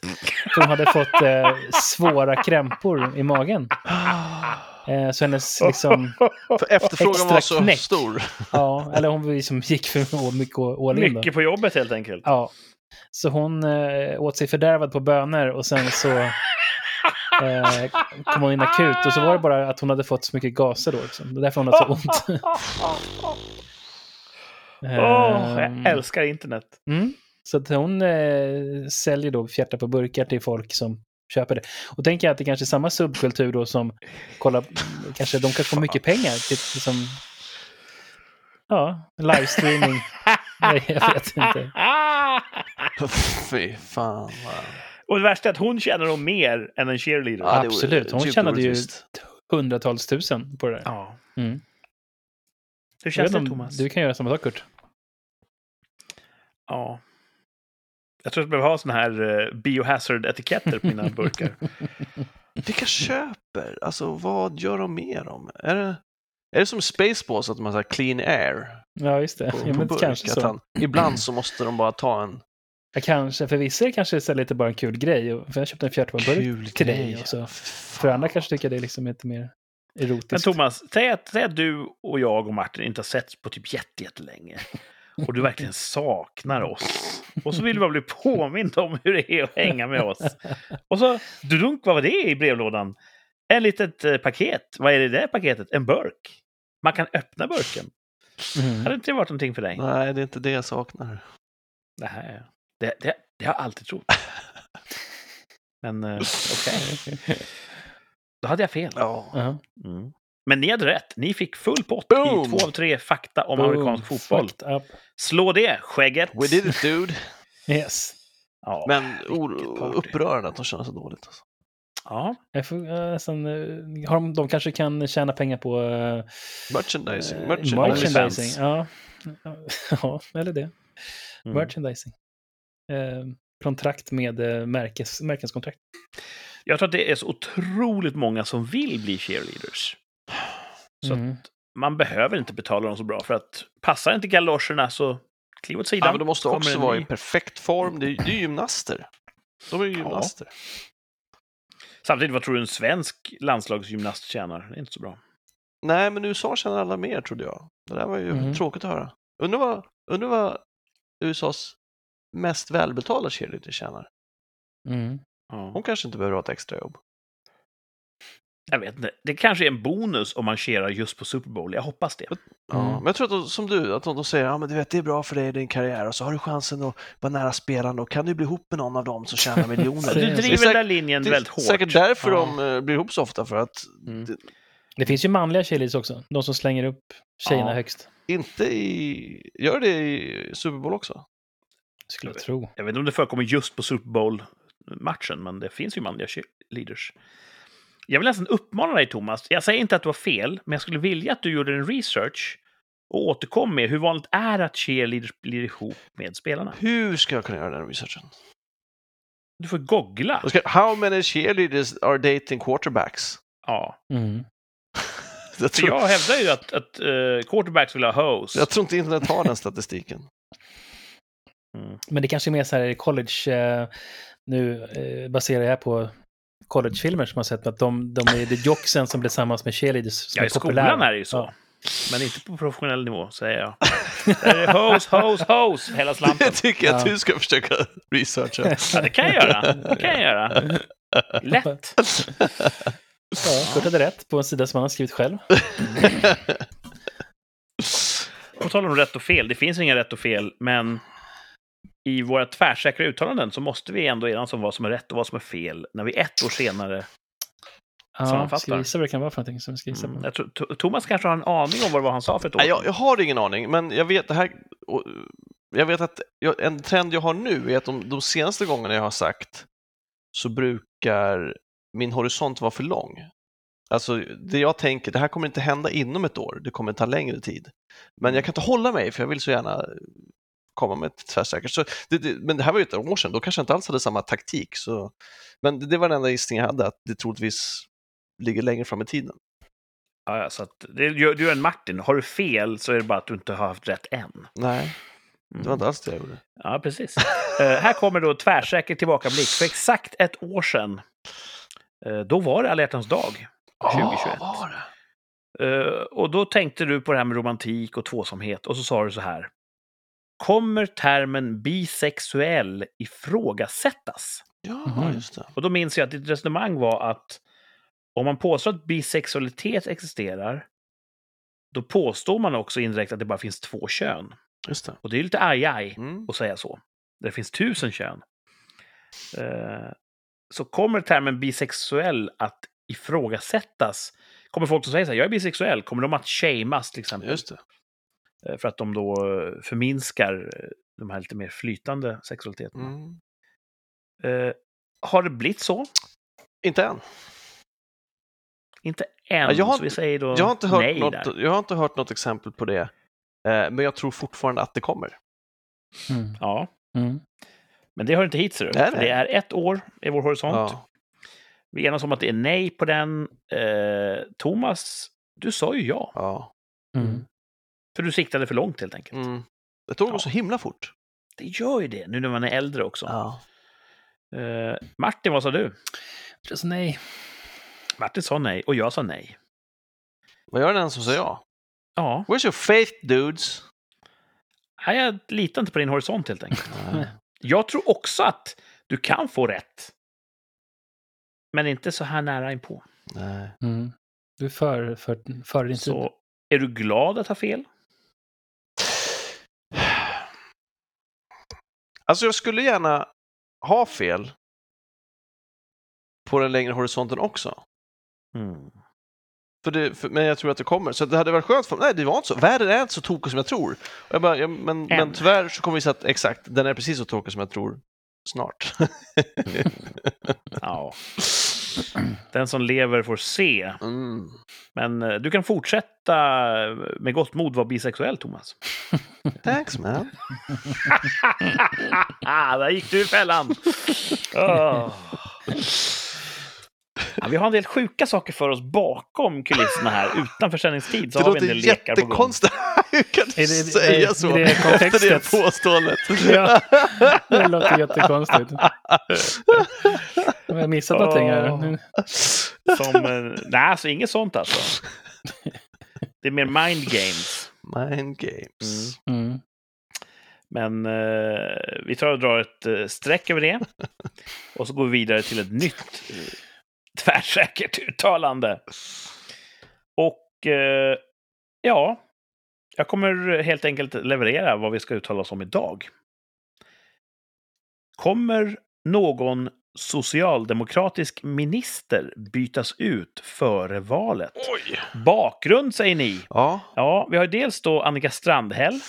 För Hon hade fått eh, svåra krämpor i magen. Eh, så hennes, liksom,
För efterfrågan
Extra
var så
knäck.
stor.
ja, eller hon liksom gick för mycket all in. Då.
Mycket på jobbet helt enkelt.
Ja. Så hon eh, åt sig fördärvad på bönor och sen så eh, kom hon in akut. Och så var det bara att hon hade fått så mycket gaser då. Liksom. Det är därför hon har så ont.
Åh,
Ehm,
jag älskar internet.
Mm. Så att hon eh, säljer då fjärtar på burkar till folk som köper det. Och tänker jag att det kanske är samma subkultur då som kolla, kanske de kan få mycket pengar till liksom, ja, livestreaming. Nej, jag vet inte.
Fy fan. vad-
Ah! Och det värsta är att hon tjänar nog mer än en cheerleader.
Ja.
det vore
absolut. Hon
djupt
tjänade ju-
orättvist.
Hundratals tusen på det där.
Ja.
Mm.
Hur
Jag
känns
vet
det,
om
Thomas?
du kan göra samma sak, Kurt.
Ja. Jag tror att jag behöver ha såna här eh, biohazard-etiketter på mina burkar.
Vilka köper? Alltså vad gör de med dem? Är det, är det som Spaceballs att de har så här clean air
Ja, just det.
på,
ja,
på
men
burk?
kanske
Att
så.
han, ibland så måste de bara ta en
Ja, kanske. För vissa är det kanske så här lite bara en kul grej. och- För jag köpte en fjärtar på en burk.
kul
till dig
grej.
och så.
Fan.
För andra kanske tycker det är liksom lite mer
Men
erotiskt.
Thomas, säg att, säg att du och jag och Martin inte har setts på typ jätte- jättelänge. Och du verkligen saknar oss. Och så vill du bara bli påmind om hur det är att hänga med oss. Och så, du dunk, vad var det i brevlådan? En litet eh, paket. Vad är det i det paketet? En burk. Man kan öppna burken.
Mm.
Hade inte det varit någonting för dig?
Nej, det är inte det jag saknar.
Det, här, det, det, det har jag alltid trott. Men eh, okej, då hade jag fel.
Ja.
Ja.
Mm. Men ni hade rätt. Ni fick full pott
Boom!
i två av tre fakta om
Boom.
amerikansk fotboll.
Fucked up.
Slå det, skägget!
We did it dude.
Yes.
Ja.
Men
vilket
o-
party.
upprörande att de känner så dåligt. Alltså.
Ja.
Jag får, eh, sen, eh, har de, de kanske kan tjäna pengar på eh,
Merchandising.
eh,
merchandising.
merchandising. Ja. ja, eller det.
Mm.
Merchandising. Eh, kontrakt med eh, märkes, märkeskontrakt.
Jag tror att det är så otroligt många som vill bli cheerleaders. Så
Mm.
Man behöver inte betala dem så bra för att passar inte galoscherna så kliv åt sidan.
Ja, men de måste
Kommer
också
en
vara
ny.
i perfekt form. Det är, det är gymnaster. De är ju gymnaster.
Samtidigt, vad tror du en svensk landslagsgymnast tjänar? Det är inte så bra.
Nej, men USA tjänar alla mer, trodde jag. Det där var ju
Mm.
tråkigt att höra. Undrar vad, undrar vad USAs mest välbetalda cheerleader tjänar.
Mm.
Ja.
Hon kanske inte behöver ha ett extrajobb.
Jag vet inte. Det kanske är en bonus om man cherar just på Super Bowl. Jag hoppas det.
Ja,
Mm.
Men jag tror att de, som du, att de, de säger ja men du vet det är bra för dig i din karriär och så har du chansen att vara nära spelarna och kan du bli ihop med någon av dem som tjänar miljoner.
Det är
Du driver
säkert-
den där linjen
det är
väldigt hårt.
säkert därför
Ja.
de eh, blir ihop så ofta, för att
Mm.
det-
Det finns ju manliga cheerleaders också. De som slänger upp tjejerna
Ja.
högst.
inte i... Gör det i Super Bowl också?
Skulle jag tro.
Jag vet inte om det förekommer just på Super Bowl-matchen, men det finns ju manliga leaders. Jag vill nästan uppmana dig, Thomas. Jag säger inte att du har fel, men jag skulle vilja att du gjorde en research och återkom med hur vanligt är att cheerleaders blir ihop med spelarna.
Hur ska jag kunna göra den researchen?
Du får googla.
Jag Ska, how many cheerleaders are dating quarterbacks?
Ja.
Mm.
Jag
För
tror,
jag hävdar ju att, att eh, quarterbacks vill ha hoes.
jag tror inte internet har den statistiken.
Mm.
Men det kanske är mer så här college, eh, nu eh, baserar jag här på collegefilmer som har sett att de, de är det jocksen som blir tillsammans med cheerleaders som
Ja, i skolan är det ju så.
Ja.
Men inte på professionell nivå, säger jag. Där är det hoes, hoes, hoes hela slanten.
Jag tycker att
Ja.
du ska försöka researcha.
Ja, det kan jag göra. Det kan jag göra. Lätt.
Ja, Kurt hade rätt på en sida som han har skrivit själv.
På tal om rätt och fel, det finns inga rätt och fel, men i våra tvärsäkra uttalanden så måste vi ändå enas om vad som är rätt och vad som är fel när vi ett år senare...
Ja,
Sammanfattar.
ska vi gissa vad det kan vara för någonting som vi ska gissa på?
Mm. Jag tror, To- Thomas kanske har en aning om vad det var han sa för ett år
Nej, jag, jag har ingen aning, men jag vet det här... och, Jag vet att jag, en trend jag har nu är att de, de senaste gångerna jag har sagt så brukar min horisont vara för lång. Alltså, det jag tänker, det här kommer inte hända inom ett år, det kommer ta längre tid. Men jag kan inte hålla mig, för jag vill så gärna komma med ett tvärsäkert. Så det, det, men det här var ju ett år sedan, då kanske jag inte alls hade samma taktik. Så, men det, det var den enda gissning jag hade, att det troligtvis ligger längre fram i tiden.
Ja, ja, så att, det, gör- du är en Martin. Har du fel så är det bara att du inte har haft rätt än.
Nej, det var inte alls det jag gjorde.
Ja, precis. Eh, här kommer då tvärsäker tillbakablick. För exakt ett år sedan, eh, då var det alla hjärtans dag, 2021.
Ah, var det?
Eh, och då tänkte du på det här med romantik och tvåsamhet och så sa du så här. Kommer termen bisexuell ifrågasättas?
Ja,
Mhm.
just det.
Och då minns jag att ditt resonemang var att om man påstår att bisexualitet existerar, då påstår man också indirekt att det bara finns två kön.
Just det.
Och det är ju lite aj-aj
Mm.
att säga så. Det finns tusen kön. Eh, så kommer termen bisexuell att ifrågasättas? Kommer folk som säger så här, jag är bisexuell, kommer de att shameas till exempel?
Just det.
Eh, För att de då eh, förminskar eh, de här lite mer flytande sexualiteterna.
Mm.
Eh, har det blivit så?
Inte än.
Inte än.
Ja, jag har
så vi säger då
Jag har, inte hört
nej
något,
där.
jag har inte hört något exempel på det, eh, men jag tror fortfarande att det kommer.
Mm.
Ja,
Mm.
men det hör inte hit ser du.
Nej,
För
nej.
Det är ett år i vår horisont.
Ja.
Vi enas om att det är nej på den. Eh, Thomas, du sa ju ja.
Ja.
Mm.
För du siktade för långt helt enkelt.
Mm. Det tog
Ja.
så himla fort.
Det gör ju det, nu när man är äldre också.
Ja.
Eh, Martin, vad sa du?
Just Alltså, nej.
Martin sa nej och jag sa nej.
Vad gör den som säger ja?
Ja,
Where's your faith dudes?
nej, jag litar inte på din horisont helt enkelt.
Nej.
Jag tror också att du kan få rätt. Men inte så här nära inpå.
Nej.
Mm. Du är för, för, för din tid.
Så är du glad att ha fel?
Alltså jag skulle gärna ha fel på den längre horisonten också. För det, för, men jag tror att det kommer. Så det hade varit skönt för Nej, det var inte så. Världen är inte så tokig som jag tror. Och jag bara, ja, men, men
Än.
tyvärr så kommer vi se att exakt, den är precis så tokig som jag tror snart.
Ja. Den som lever får se.
Mm.
Men eh, du kan fortsätta eh, med gott mod vara bisexuell, Thomas.
Thanks man.
Ah, där gick du i fällan! Åh. Ja, vi har en del sjuka saker för oss bakom kulisserna här. Utanför sändningstid så
Det
har vi en
låter
del lekar på gång.
jättekonstigt. Hur kan du
Är det-
säga
är-
så
är det
efter det
kontextet?
påståendet?
Ja, det låter jättekonstigt. Jag har missat någonting här. Mm. Nu-
Som, eh, nej, alltså inget sånt alltså. Det är mer mind games.
Mind games.
Mm.
Men eh, vi tar och drar ett eh, streck över det. Och så går vi vidare till ett nytt eh, Tvärsäkert uttalande. Och eh, ja, jag kommer helt enkelt leverera vad vi ska uttala oss om idag. Kommer någon socialdemokratisk minister bytas ut före valet?
Oj!
Bakgrund säger ni.
Ja,
Ja, vi har ju dels då Annika Strandhäll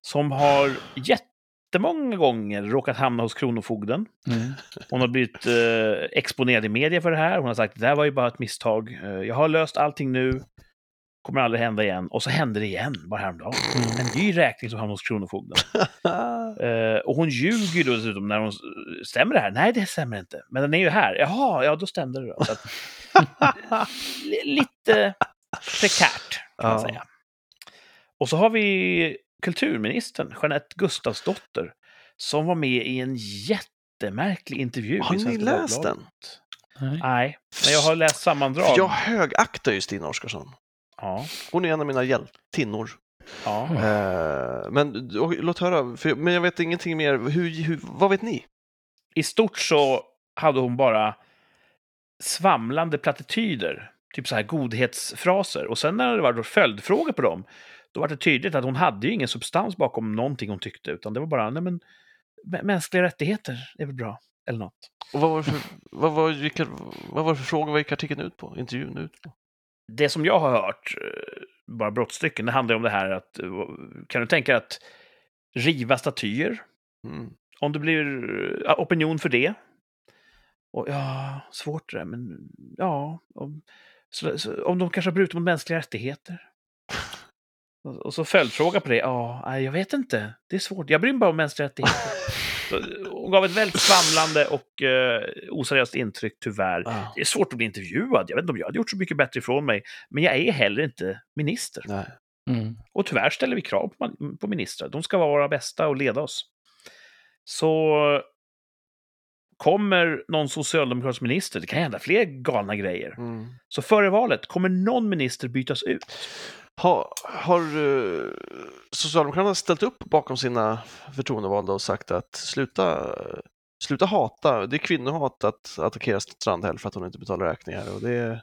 som har jättemånga gånger råkat hamna hos Kronofogden.
Mm.
Hon har blivit eh, exponerad i media för det här. Hon har sagt det där var ju bara ett misstag. Eh, jag har löst allting nu. Kommer aldrig hända igen. Och så hände det igen, bara häromdagen.
Mm.
En ny räkning som hamnade hos Kronofogden. Eh, och hon ljuger ju då dessutom när hon... s- Stämmer det här? Nej, det stämmer inte. Men den är ju här. Jaha, ja då stämde det då. Så att, li- lite prekärt, kan man
Ja.
säga. Och så har vi kulturministern, Jeanette Gustafsdotter, som var med i en jättemärklig intervju
har
i
ni
Svenska
läst
Dagbladet.
den?
Nej.
Nej, men jag har läst sammandrag.
För Jag högaktar ju Stina Oskarsson.
Ja,
Hon är en av mina hjältinnor.
ja.
Eh, men och, låt höra, för, men jag vet ingenting mer. Hur, hur, vad vet ni?
I stort så hade hon bara svamlande plattityder, typ så här godhetsfraser. Och sen när det var då följdfrågor på dem, då var det tydligt att hon hade ju ingen substans bakom någonting hon tyckte, utan det var bara nej men, mä- mänskliga rättigheter är väl bra, eller något.
Och vad, var det för, vad, var, vilka, vad var det för frågor? Vad gick artikeln ut på? Intervjun ut på?
Det som jag har hört, eh, bara brottstycken, det handlar ju om det här att eh, kan du tänka dig att riva statyer?
Mm.
om det blir eh, opinion för det. Och ja, svårt det där, men ja. Om, så, så, om de kanske har brutit mot mänskliga rättigheter. Och, och så följdfråga på det. Ja, nej, jag vet inte. Det är svårt. Jag bryr mig bara om mänskliga rättigheter. Så, Hon gav ett väldigt svamlande och eh, oseriöst intryck, tyvärr.
Ah,
Det är svårt att bli intervjuad. Jag vet inte om jag hade gjort så mycket bättre ifrån mig. Men jag är heller inte minister.
nej.
Mm.
Och tyvärr ställer vi krav på, man- på ministrar. De ska vara våra bästa och leda oss. Så kommer någon socialdemokratisk minister, det kan hända fler galna grejer.
Mm.
Så före valet, kommer någon minister bytas ut?
Ha, har eh, Socialdemokraterna ställt upp bakom sina förtroendevalda och sagt att sluta, sluta hata, det är kvinnohat att attackera Strandhäll för att hon inte betalar räkningar. Och det är...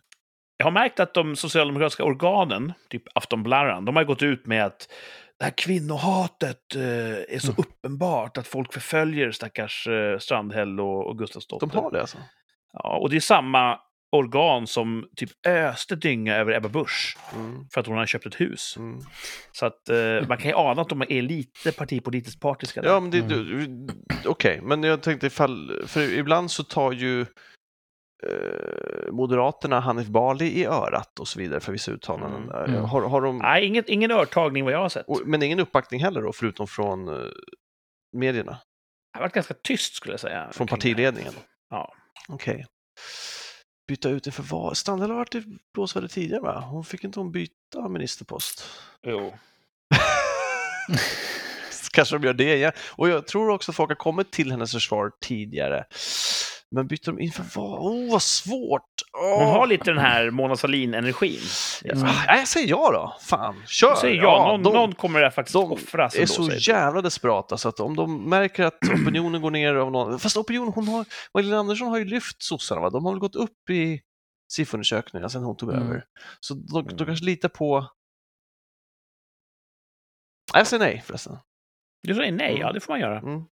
Jag har märkt att de socialdemokratiska organen, typ Aftonblaran, de har gått ut med att det här kvinnohatet eh, är
Mm.
så uppenbart att folk förföljer stackars eh, Strandhäll och, och Gustafsdotter.
De har det alltså?
Ja, och det är samma organ som typ öste dynga över Ebba Busch
Mm,
för att hon har köpt ett hus.
mm.
Så att eh, man kan ju ana att de är lite partipolitiskt partiska. där.
Ja, men det, du- okej, men jag tänkte ifall, för ibland så tar ju eh, Moderaterna Hanif Bali i örat och så vidare för vissa uttalanden.
Mm.
Eh, Har, har de,
Nej, inget, ingen örtagning vad jag har sett.
och, men ingen uppbackning heller då, förutom från eh, medierna,
Det har varit ganska tyst skulle jag säga.
från
kring det.
partiledningen?
Ja.
Okej. Byta ut inför val. Strandhäll har varit i blåsväder tidigare va? Hon fick inte hon byta ministerpost?
Jo.
Kanske de gör det igen. Och jag tror också att folk har kommit till hennes försvar tidigare. Men byter de inför val? Åh, oh, vad svårt! Åh.
Hon har lite den här Mona Sahlin-energin.
Mm. Ah, jag säger ja då! Fan, kör!
Jag säger
Ja,
ja, någon,
de
någon kommer där faktiskt
de
offras.
är
ändå,
så
säger du.
jävla desperata så att om de märker att opinionen går ner av någon... Fast opinionen, hon har... Magdalena Andersson har ju lyft sossarna, va? De har väl gått upp i SIFO-undersökningarna sen hon tog
Mm.
över. Så de, de
Mm.
kanske litar på... Nej, Jag säger nej förresten.
Du säger nej, ja det får man göra.
Mm.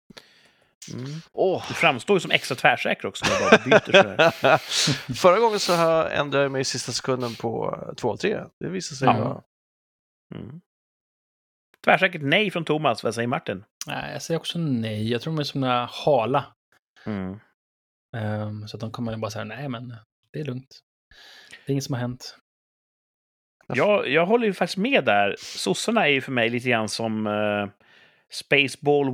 Mm.
Åh.
Du framstår ju som extra tvärsäker också när du bara byter sådär.
Förra gången så här ändrade jag mig i sista sekunden på 2 av 3. Det visade sig
Ja.
vara...
Mm. Tvärsäkert nej från Thomas, vad säger Martin?
Nej, jag säger också nej. Jag tror de är som några hala. Ehm, så att de kommer bara säga nej, men det är lugnt. Det är inget som har hänt.
Jag, jag håller ju faktiskt med där. Sossarna är ju för mig lite grann som eh, Spaceball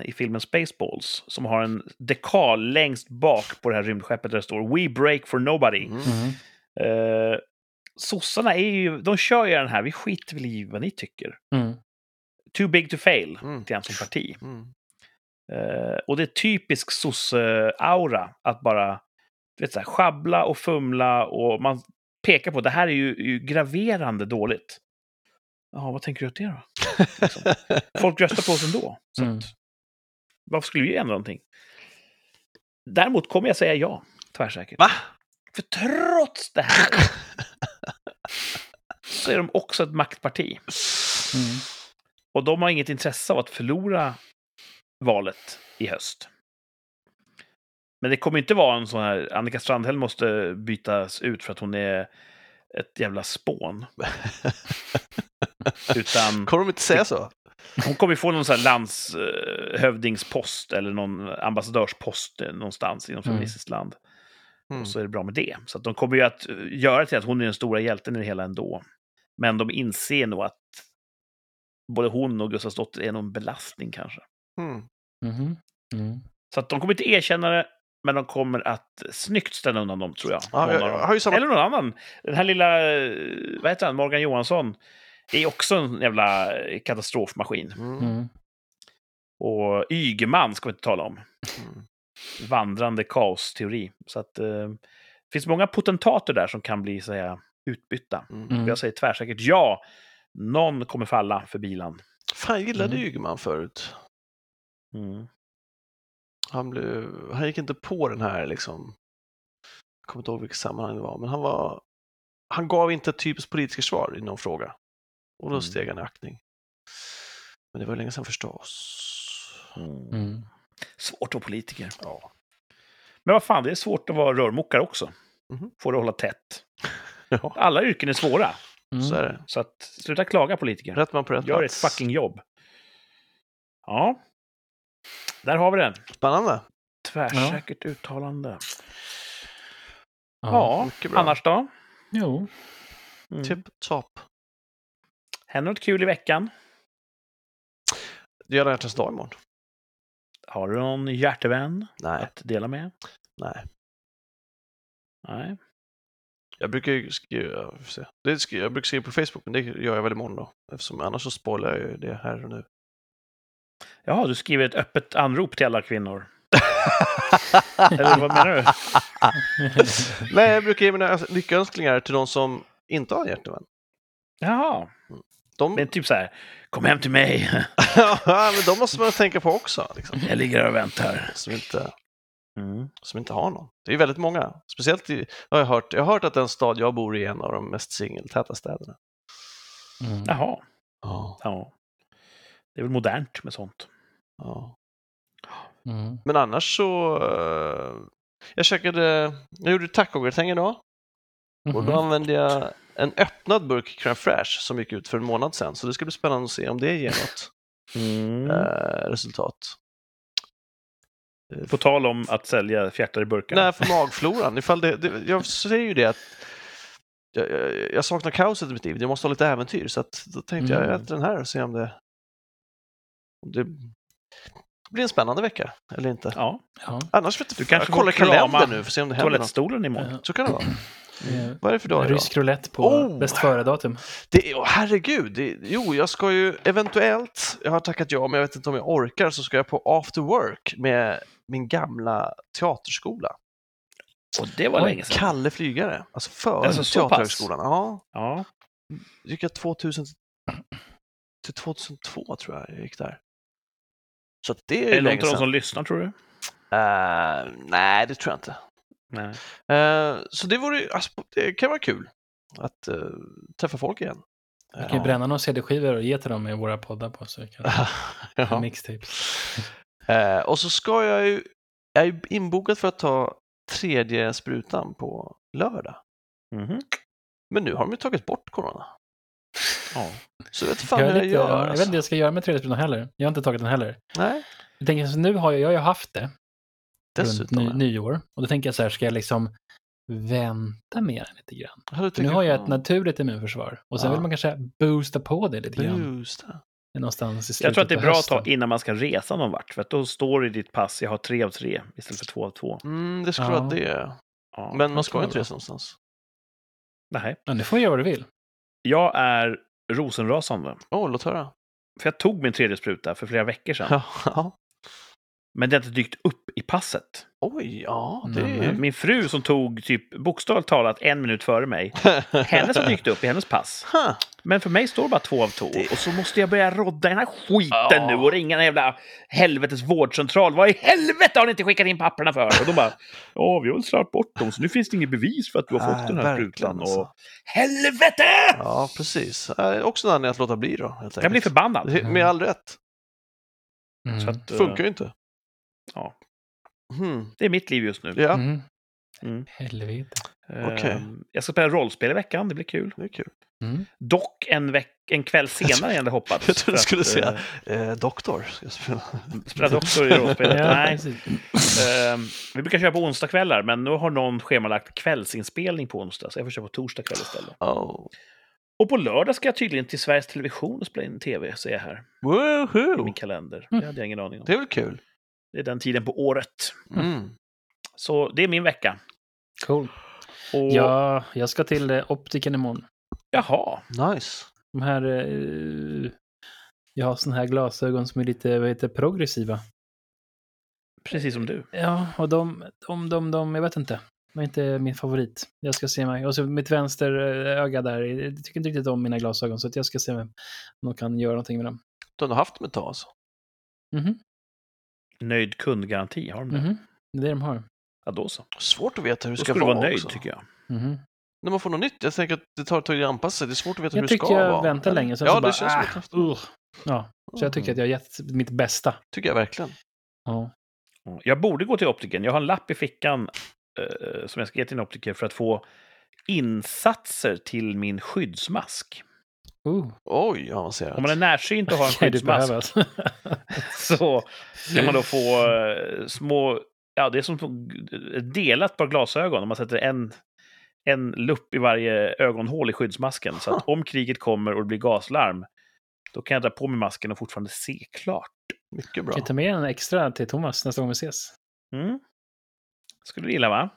1 i filmen Spaceballs. Som har en dekal längst bak på det här rymdskeppet där det står We break for nobody.
Mm.
Eh, sossarna är ju, de kör ju den här, vi skiter väl i vad ni tycker.
Mm.
Too big to fail,
Mm.
lite grann som parti.
Mm.
Eh, och det är typisk sosse-aura att bara du vet, så här, schabbla och fumla och man pekar på det här är ju, ju graverande dåligt. Ja, vad tänker du åt det då? Liksom. Folk röstar på oss ändå. Så
Mm.
att, varför skulle vi ändra någonting? Däremot kommer jag säga ja, tvärsäkert.
Va?
För trots det här så är de också ett maktparti.
Mm.
Och de har inget intresse av att förlora valet i höst. Men det kommer inte vara en sån här... Annika Strandhäll måste bytas ut för att hon är ett jävla spån. Utan
Kommer de inte säga så?
hon kommer ju få någon sån här landshövdingspost eller någon ambassadörspost eh, någonstans inom
Mm.
feministiskt land.
Mm.
Och så är det bra med det. Så att de kommer ju att eh, göra till att hon är den stora hjälten i det hela ändå. Men de inser nog att både hon och Gustafsdotter är någon belastning kanske.
Mm.
Mhm. Mm.
Så att de kommer inte erkänna det, men de kommer att snyggt ställa undan dem, tror jag.
Ja, jag,
Någon av
jag
dem.
har ju samma...
Eller någon annan. Den här lilla, eh, vad heter han, Morgan Johansson, är också en jävla eh, katastrofmaskin.
Mm.
Mm.
Och Ygeman ska vi inte tala om.
Mm.
Vandrande kaosteori. Så att eh, det finns många potentater där som kan bli, så att säga, utbytta.
Mm.
Mm.
Jag säger tvärsäkert ja. Någon kommer falla för bilan.
Fan, jag gillade
Mm.
Ygeman förut.
Mm.
Han, blev... han gick inte på den här liksom... Jag kommer inte ihåg vilket sammanhang det var, men han var... Han gav inte ett typiskt politiskt svar i någon fråga. Och då
Mm.
steg han i aktning. Men det var länge sedan förstås.
Mm.
Mm.
Svårt att vara politiker. Men vad fan, det är svårt att vara rörmokare också.
Mhm.
Får det hålla tätt.
Ja,
Alla yrken är svåra,
så är
Mm.
det.
så att sluta klaga politiker.
Rätt man på rätt
Gör ett
plats.
fucking jobb. Ja, där har vi den.
Spännande.
Tvärsäkert uttalande.
Ja.
Ja,
mycket bra.
annars då?
Jo.
Mm.
Tip top.
Händer något kul i veckan?
Det är alla hjärtans dag imorgon.
Har du någon hjärtevän
Nej,
att dela med?
nej.
Nej.
Jag brukar ju skriva, jag får se. det skri- jag brukar skriva på Facebook, men det gör jag väl imorgon då. Eftersom annars så spoilar jag ju det här och nu.
Jaha, du skriver ett öppet anrop till alla kvinnor. Eller vad menar du?
Mm,
nej, jag brukar ge mina lyckönskningar till de som inte har en hjärtevän.
Jaha,
De,
men typ så här. Kom hem till mig,
ja, men de måste man tänka på också, liksom.
jag ligger här och väntar.
som, inte,
Mm.
som inte har någon. Det är ju väldigt många. Speciellt i, har jag, hört, jag har hört att den stad jag bor i är en av de mest singeltäta städerna.
Mm.
Jaha.
Ja.
Ja. Det är väl modernt med sånt.
ja.
Mm.
Men annars så... eh, jag käkade... Jag gjorde tacogratäng idag. Och då
Mhm.
använde jag en öppnad burk crème fraîche som gick ut för en månad sedan, så det ska bli spännande att se om det ger något
Mm.
eh, resultat.
På tal om att sälja fjärtar i burkar.
Nej, för magfloran. Ifall det, det, jag säger ju det att jag, jag, jag saknar kaoset i mitt liv, jag måste ha lite äventyr, så att, då tänkte jag
Mm.
jag äter den här och ser om det, om det blir en spännande vecka eller inte.
Ja,
Ja.
Annars vet
Du
jag,
kanske
jag kollar
får krama
kalendern nu för att se om det händer något.
toalettstolen imorgon.
Så kan det vara.
Eh,
Vad är det för dag idag?
Rysk roulette på
Oh!
bäst före-datum.
Det, åh, herregud, det, jo, jag ska ju eventuellt, jag har tackat ja, men jag vet inte om jag orkar, så ska jag på after work med min gamla teaterskola.
Och det var
Oj,
länge sedan.
Kalle Flygare, alltså före
Alltså, så pass?
Teaterhögskolan. Ja,
Ja.
gick jag 2000 till 2002 tror jag jag gick där. Så att det är,
Är det
ju
någon av
länge
de
sedan.
som lyssnar, tror du?
Eh, nej, det tror jag inte.
Nej.
Eh, så det, vore, ju- alltså, det kan vara kul att eh, träffa folk igen.
Vi kan ju bränna några CD-skivor och ge till dem i våra poddar på så vi kan
ja.
ja. mixtapes.
Eh, och så ska jag ju, jag är ju inbokad för att ta tredje sprutan på lördag.
Mhm.
Men nu har de ju tagit bort corona.
Ja.
Så jag vet fan
Jag, är
vad jag
lite,
gör.
jag vet
alltså.
inte vad jag ska göra med 3D-spelen heller. Jag har inte tagit den heller.
Nej,
Jag tänker så nu har jag, jag har ju haft det runt
dessutom.
ny,
ja.
nyår. Och då tänker jag så här, ska jag liksom vänta med den lite grann?
Ja, du
För nu
tycker-
har jag ett naturligt immunförsvar. Och sen
Ja.
vill man kanske boosta på det lite grann.
Just det.
Någonstans i slutet
Jag tror att det är
på
bra att
hösten.
ta innan man ska resa någon vart. För att då står det i ditt pass, jag har tre av tre istället för två av två.
Mm, det skulle
Ja.
vara det.
Ja.
Men man
det
ska
kan
ju inte
vara
resa någonstans.
Nej.
Ja, nu får jag göra vad du vill.
Jag är rosenrasande.
Åh, låt höra.
För jag tog min tredje spruta för flera veckor sedan.
Ja. ja.
Men det har inte dykt upp i passet. Eh,
Oj, ja. Det är
Mm.
ju...
Min fru som tog typ bokstavligt talat en minut före mig, henne som dykte upp i hennes pass.
Ha,
Men för mig står det bara två av två.
Det-
Och så måste jag börja rodda i den här skiten
Ja.
nu och ringa en jävla helvetes vårdcentral. Vad i helvete har ni inte skickat in papperna för? Och de bara, ja, vi har väl slarvat bort dem, så nu finns det inget bevis för att du har fått
Nej,
den här
verkligen
sprutan.
alltså.
Och... Helvete!
Ja, precis. Eh, också en anledning att låta bli då. Helt
Jag blir
enkelt.
förbannad.
Det- Med all rätt.
Mm.
Så att, eh,
Funkar ju inte.
Ja.
Hmm.
det är mitt liv just nu.
Ja,
Mm.
Mm.
Helvete.
Eh,
okej.
Jag ska spela rollspel i veckan, det blir kul.
det är kul.
Mm.
Dock en, veck, en kväll senare än jag hoppats.
jag trodde du
för
skulle
att,
säga-
eh,
Eh, doktor ska jag spela.
Spela doktor i rollspelet.
Ja,
Nej,
precis.
Ehm, vi brukar köra på onsdagskvällar, men nu har någon schemalagt kvällsinspelning på onsdag, så jag får köra på torsdag kväll istället.
Oh.
Och på lördag ska jag tydligen till Sveriges Television och spela in tv, ser jag här i
Woohoo!
min kalender.
Mm.
Det hade jag ingen aning om.
Det är väl kul?
Det är den tiden på året.
Mm.
Så det är min vecka.
Cool.
Och,
Ja, jag ska till eh, optiken imorgon.
Jaha.
Nice.
De här... eh, jag har såna här glasögon som är lite vad heter, det, progressiva.
Precis som du.
Ja, och de, de, de, de, jag vet inte. De är inte min favorit. Jag ska se mig. Och så mitt vänster eh, öga där, jag tycker inte riktigt om mina glasögon så att jag ska se mig om de kan göra någonting med dem.
Du har nog haft dem ett tag alltså?
Mhm,
Nöjd kundgaranti, har de det?
mhm. Det är det de har.
Ja, då så.
Svårt att veta hur
Då
det
ska du
ska vara,
vara nöjd,
också.
tycker jag.
Mhm.
När man får något nytt, jag tänker att det tar ett tag att anpassa sig. Det är svårt att veta hur
Jag
det ska
tyckte
vara.
jag väntade länge, sen
ja,
så
det
bara,
känns som
ah,
att jag haft-
ugh. Ja, så jag
Oh.
tycker
Mm.
att jag har gett mitt bästa.
tycker jag verkligen.
Ja.
Mm. Jag borde gå till optiken. Jag har en lapp i fickan eh, som jag ska ge till en optiker för att få insatser till min skyddsmask.
Uh,
Oj, avancerat.
Om man är närsynt och har en
kan du
skyddsmask
behöva alltså.
så kan man då få eh, små... Ja, det är som ett delat par glasögon. Om man sätter en, en lupp i varje ögonhål i skyddsmasken. Så att om kriget kommer och det blir gaslarm, då kan jag dra på mig masken och fortfarande se klart.
Mycket bra.
Kan jag ta med en extra till Thomas nästa gång vi ses?
Mm. Skulle du gilla, va?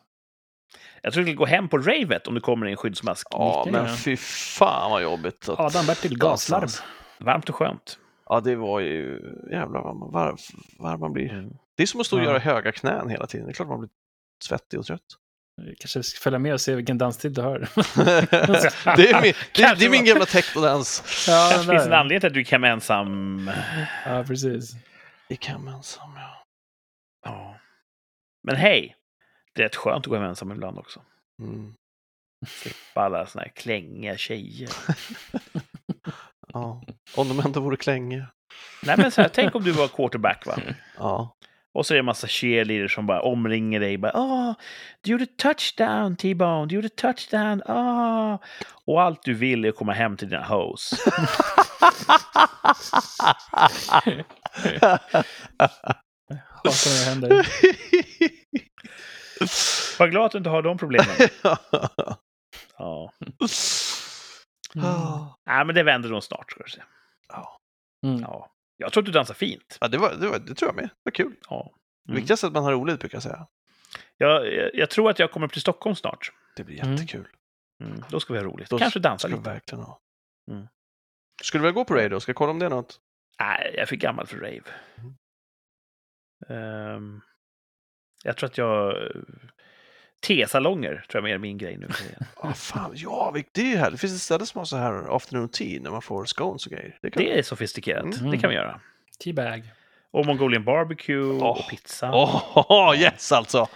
Jag tror du skulle gå hem på ravet om du kommer i en skyddsmask.
Ja,
Lika
men
gärna.
fy fan vad jobbigt. Att...
Adam Bertil, gaslarm.
Varmt och skönt.
Ja, det var ju... Jävlar vad man, varm, varm man blir.
Mm.
Det är som att stå och
Ja.
göra höga knän hela tiden. Det är klart man blir svettig och trött.
Kanske ska följa med och se vilken danstid du har.
det, är min, det, det
Kanske
är min
var-
gamla technodans.
Ja,
Det
den
finns
där.
en anledning till att du kan vara ensam.
Ja, precis.
I Kamensam, ja.
Ja. Men hej! Det är rätt skönt att gå hem ensam ibland också.
Mm.
Slippa alla såna här klängiga tjejer.
ja. Om de ändå vore klängiga.
Nej, men så här, tänk om du var quarterback, va?
Ja.
Och så är det en massa cheerleaders som bara omringer dig. Bara, Åh, du gjorde touchdown, T-Bone. Du gjorde touchdown. Åh. Och allt du vill är att komma hem till dina hoes.
Hatar när det händer.
Var glad att du inte har de problemen. Ja.
Ja.
Nej, men det vänder nog snart, ska du se.
Mm.
Ja. Jag tror att du dansar fint.
Ja, det, var, det, var, det tror jag med. Det var kul.
Ja.
Det
Mm.
viktigaste är att man har roligt, brukar jag säga.
Jag, jag, jag tror att jag kommer till Stockholm snart.
Det blir
Mm.
jättekul.
Mm, då ska vi ha roligt.
Då
Kanske dansa
Skulle
lite.
vi verkligen ha.
Mm.
Skulle du väl gå på Ray då? Ska jag kolla om det är något?
Nej, jag är för gammal för rave.
Mm.
Ehm, jag tror att jag... Tesalonger tror jag mer är min grej nu. för tiden.
Ah, fan. Ja, vi- det är ju här. Det finns ett ställe som har så här afternoon tea när man får scones och grejer. Det kan...
Det är sofistikerat.
Mm.
Det kan vi göra.
Teabag.
Och Mongolian barbecue
Åh.
och pizza.
Åh, yes alltså!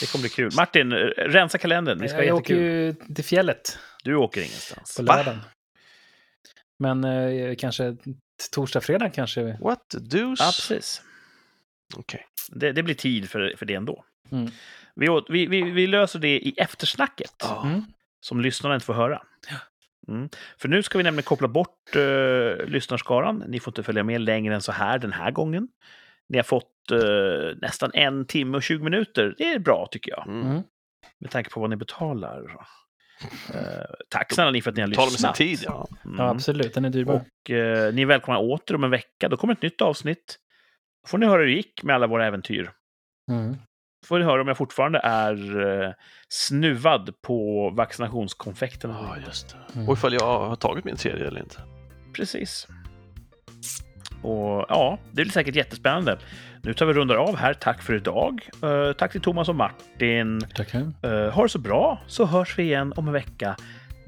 Det kommer bli kul. Martin, eh, rensa kalendern. Vi ska ha
jag åker
jättekul.
ju till fjället
Du åker
på
ingenstans.
lördagen. Men eh, kanske t- torsdag, fredag kanske. vi-
What the deuce?
Ja, precis.
Okej.
Det, det blir tid för, för det ändå.
Mm.
Vi, åt- vi, vi, vi löser det i eftersnacket.
Ja.
Mm.
som lyssnarna inte får höra. Mm. För nu ska vi nämligen koppla bort eh, lyssnarskaran. Ni får inte följa med längre än så här den här gången. Ni har fått eh, nästan en timme och 20 minuter. Det är bra tycker jag,
Mm.
Mm.
med tanke på vad ni betalar. Eh, tack snälla ni för att ni har
Tala med sin
lyssnat.
tid, ja.
Mm.
Ja, absolut. Den är dyrbar.
Och eh, ni är välkomna åter om en vecka. Då kommer ett nytt avsnitt. Då får ni höra hur det gick med alla våra äventyr.
Mm.
Då får ni höra om jag fortfarande är eh, snuvad på vaccinationskonfekterna.
Ja, just det.
Mm.
Och ifall jag har tagit min tredje eller inte.
Precis. Och ja, det blir säkert jättespännande. Nu tar vi och rundar av här. Tack för idag. Eh, tack till Thomas och Martin.
Tackar.
Uh, ha det så bra, så hörs vi igen om en vecka.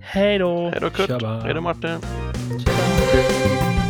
Hej då!
Hej då Kurt.
Tjaba.
Hej då Martin.
Tjena.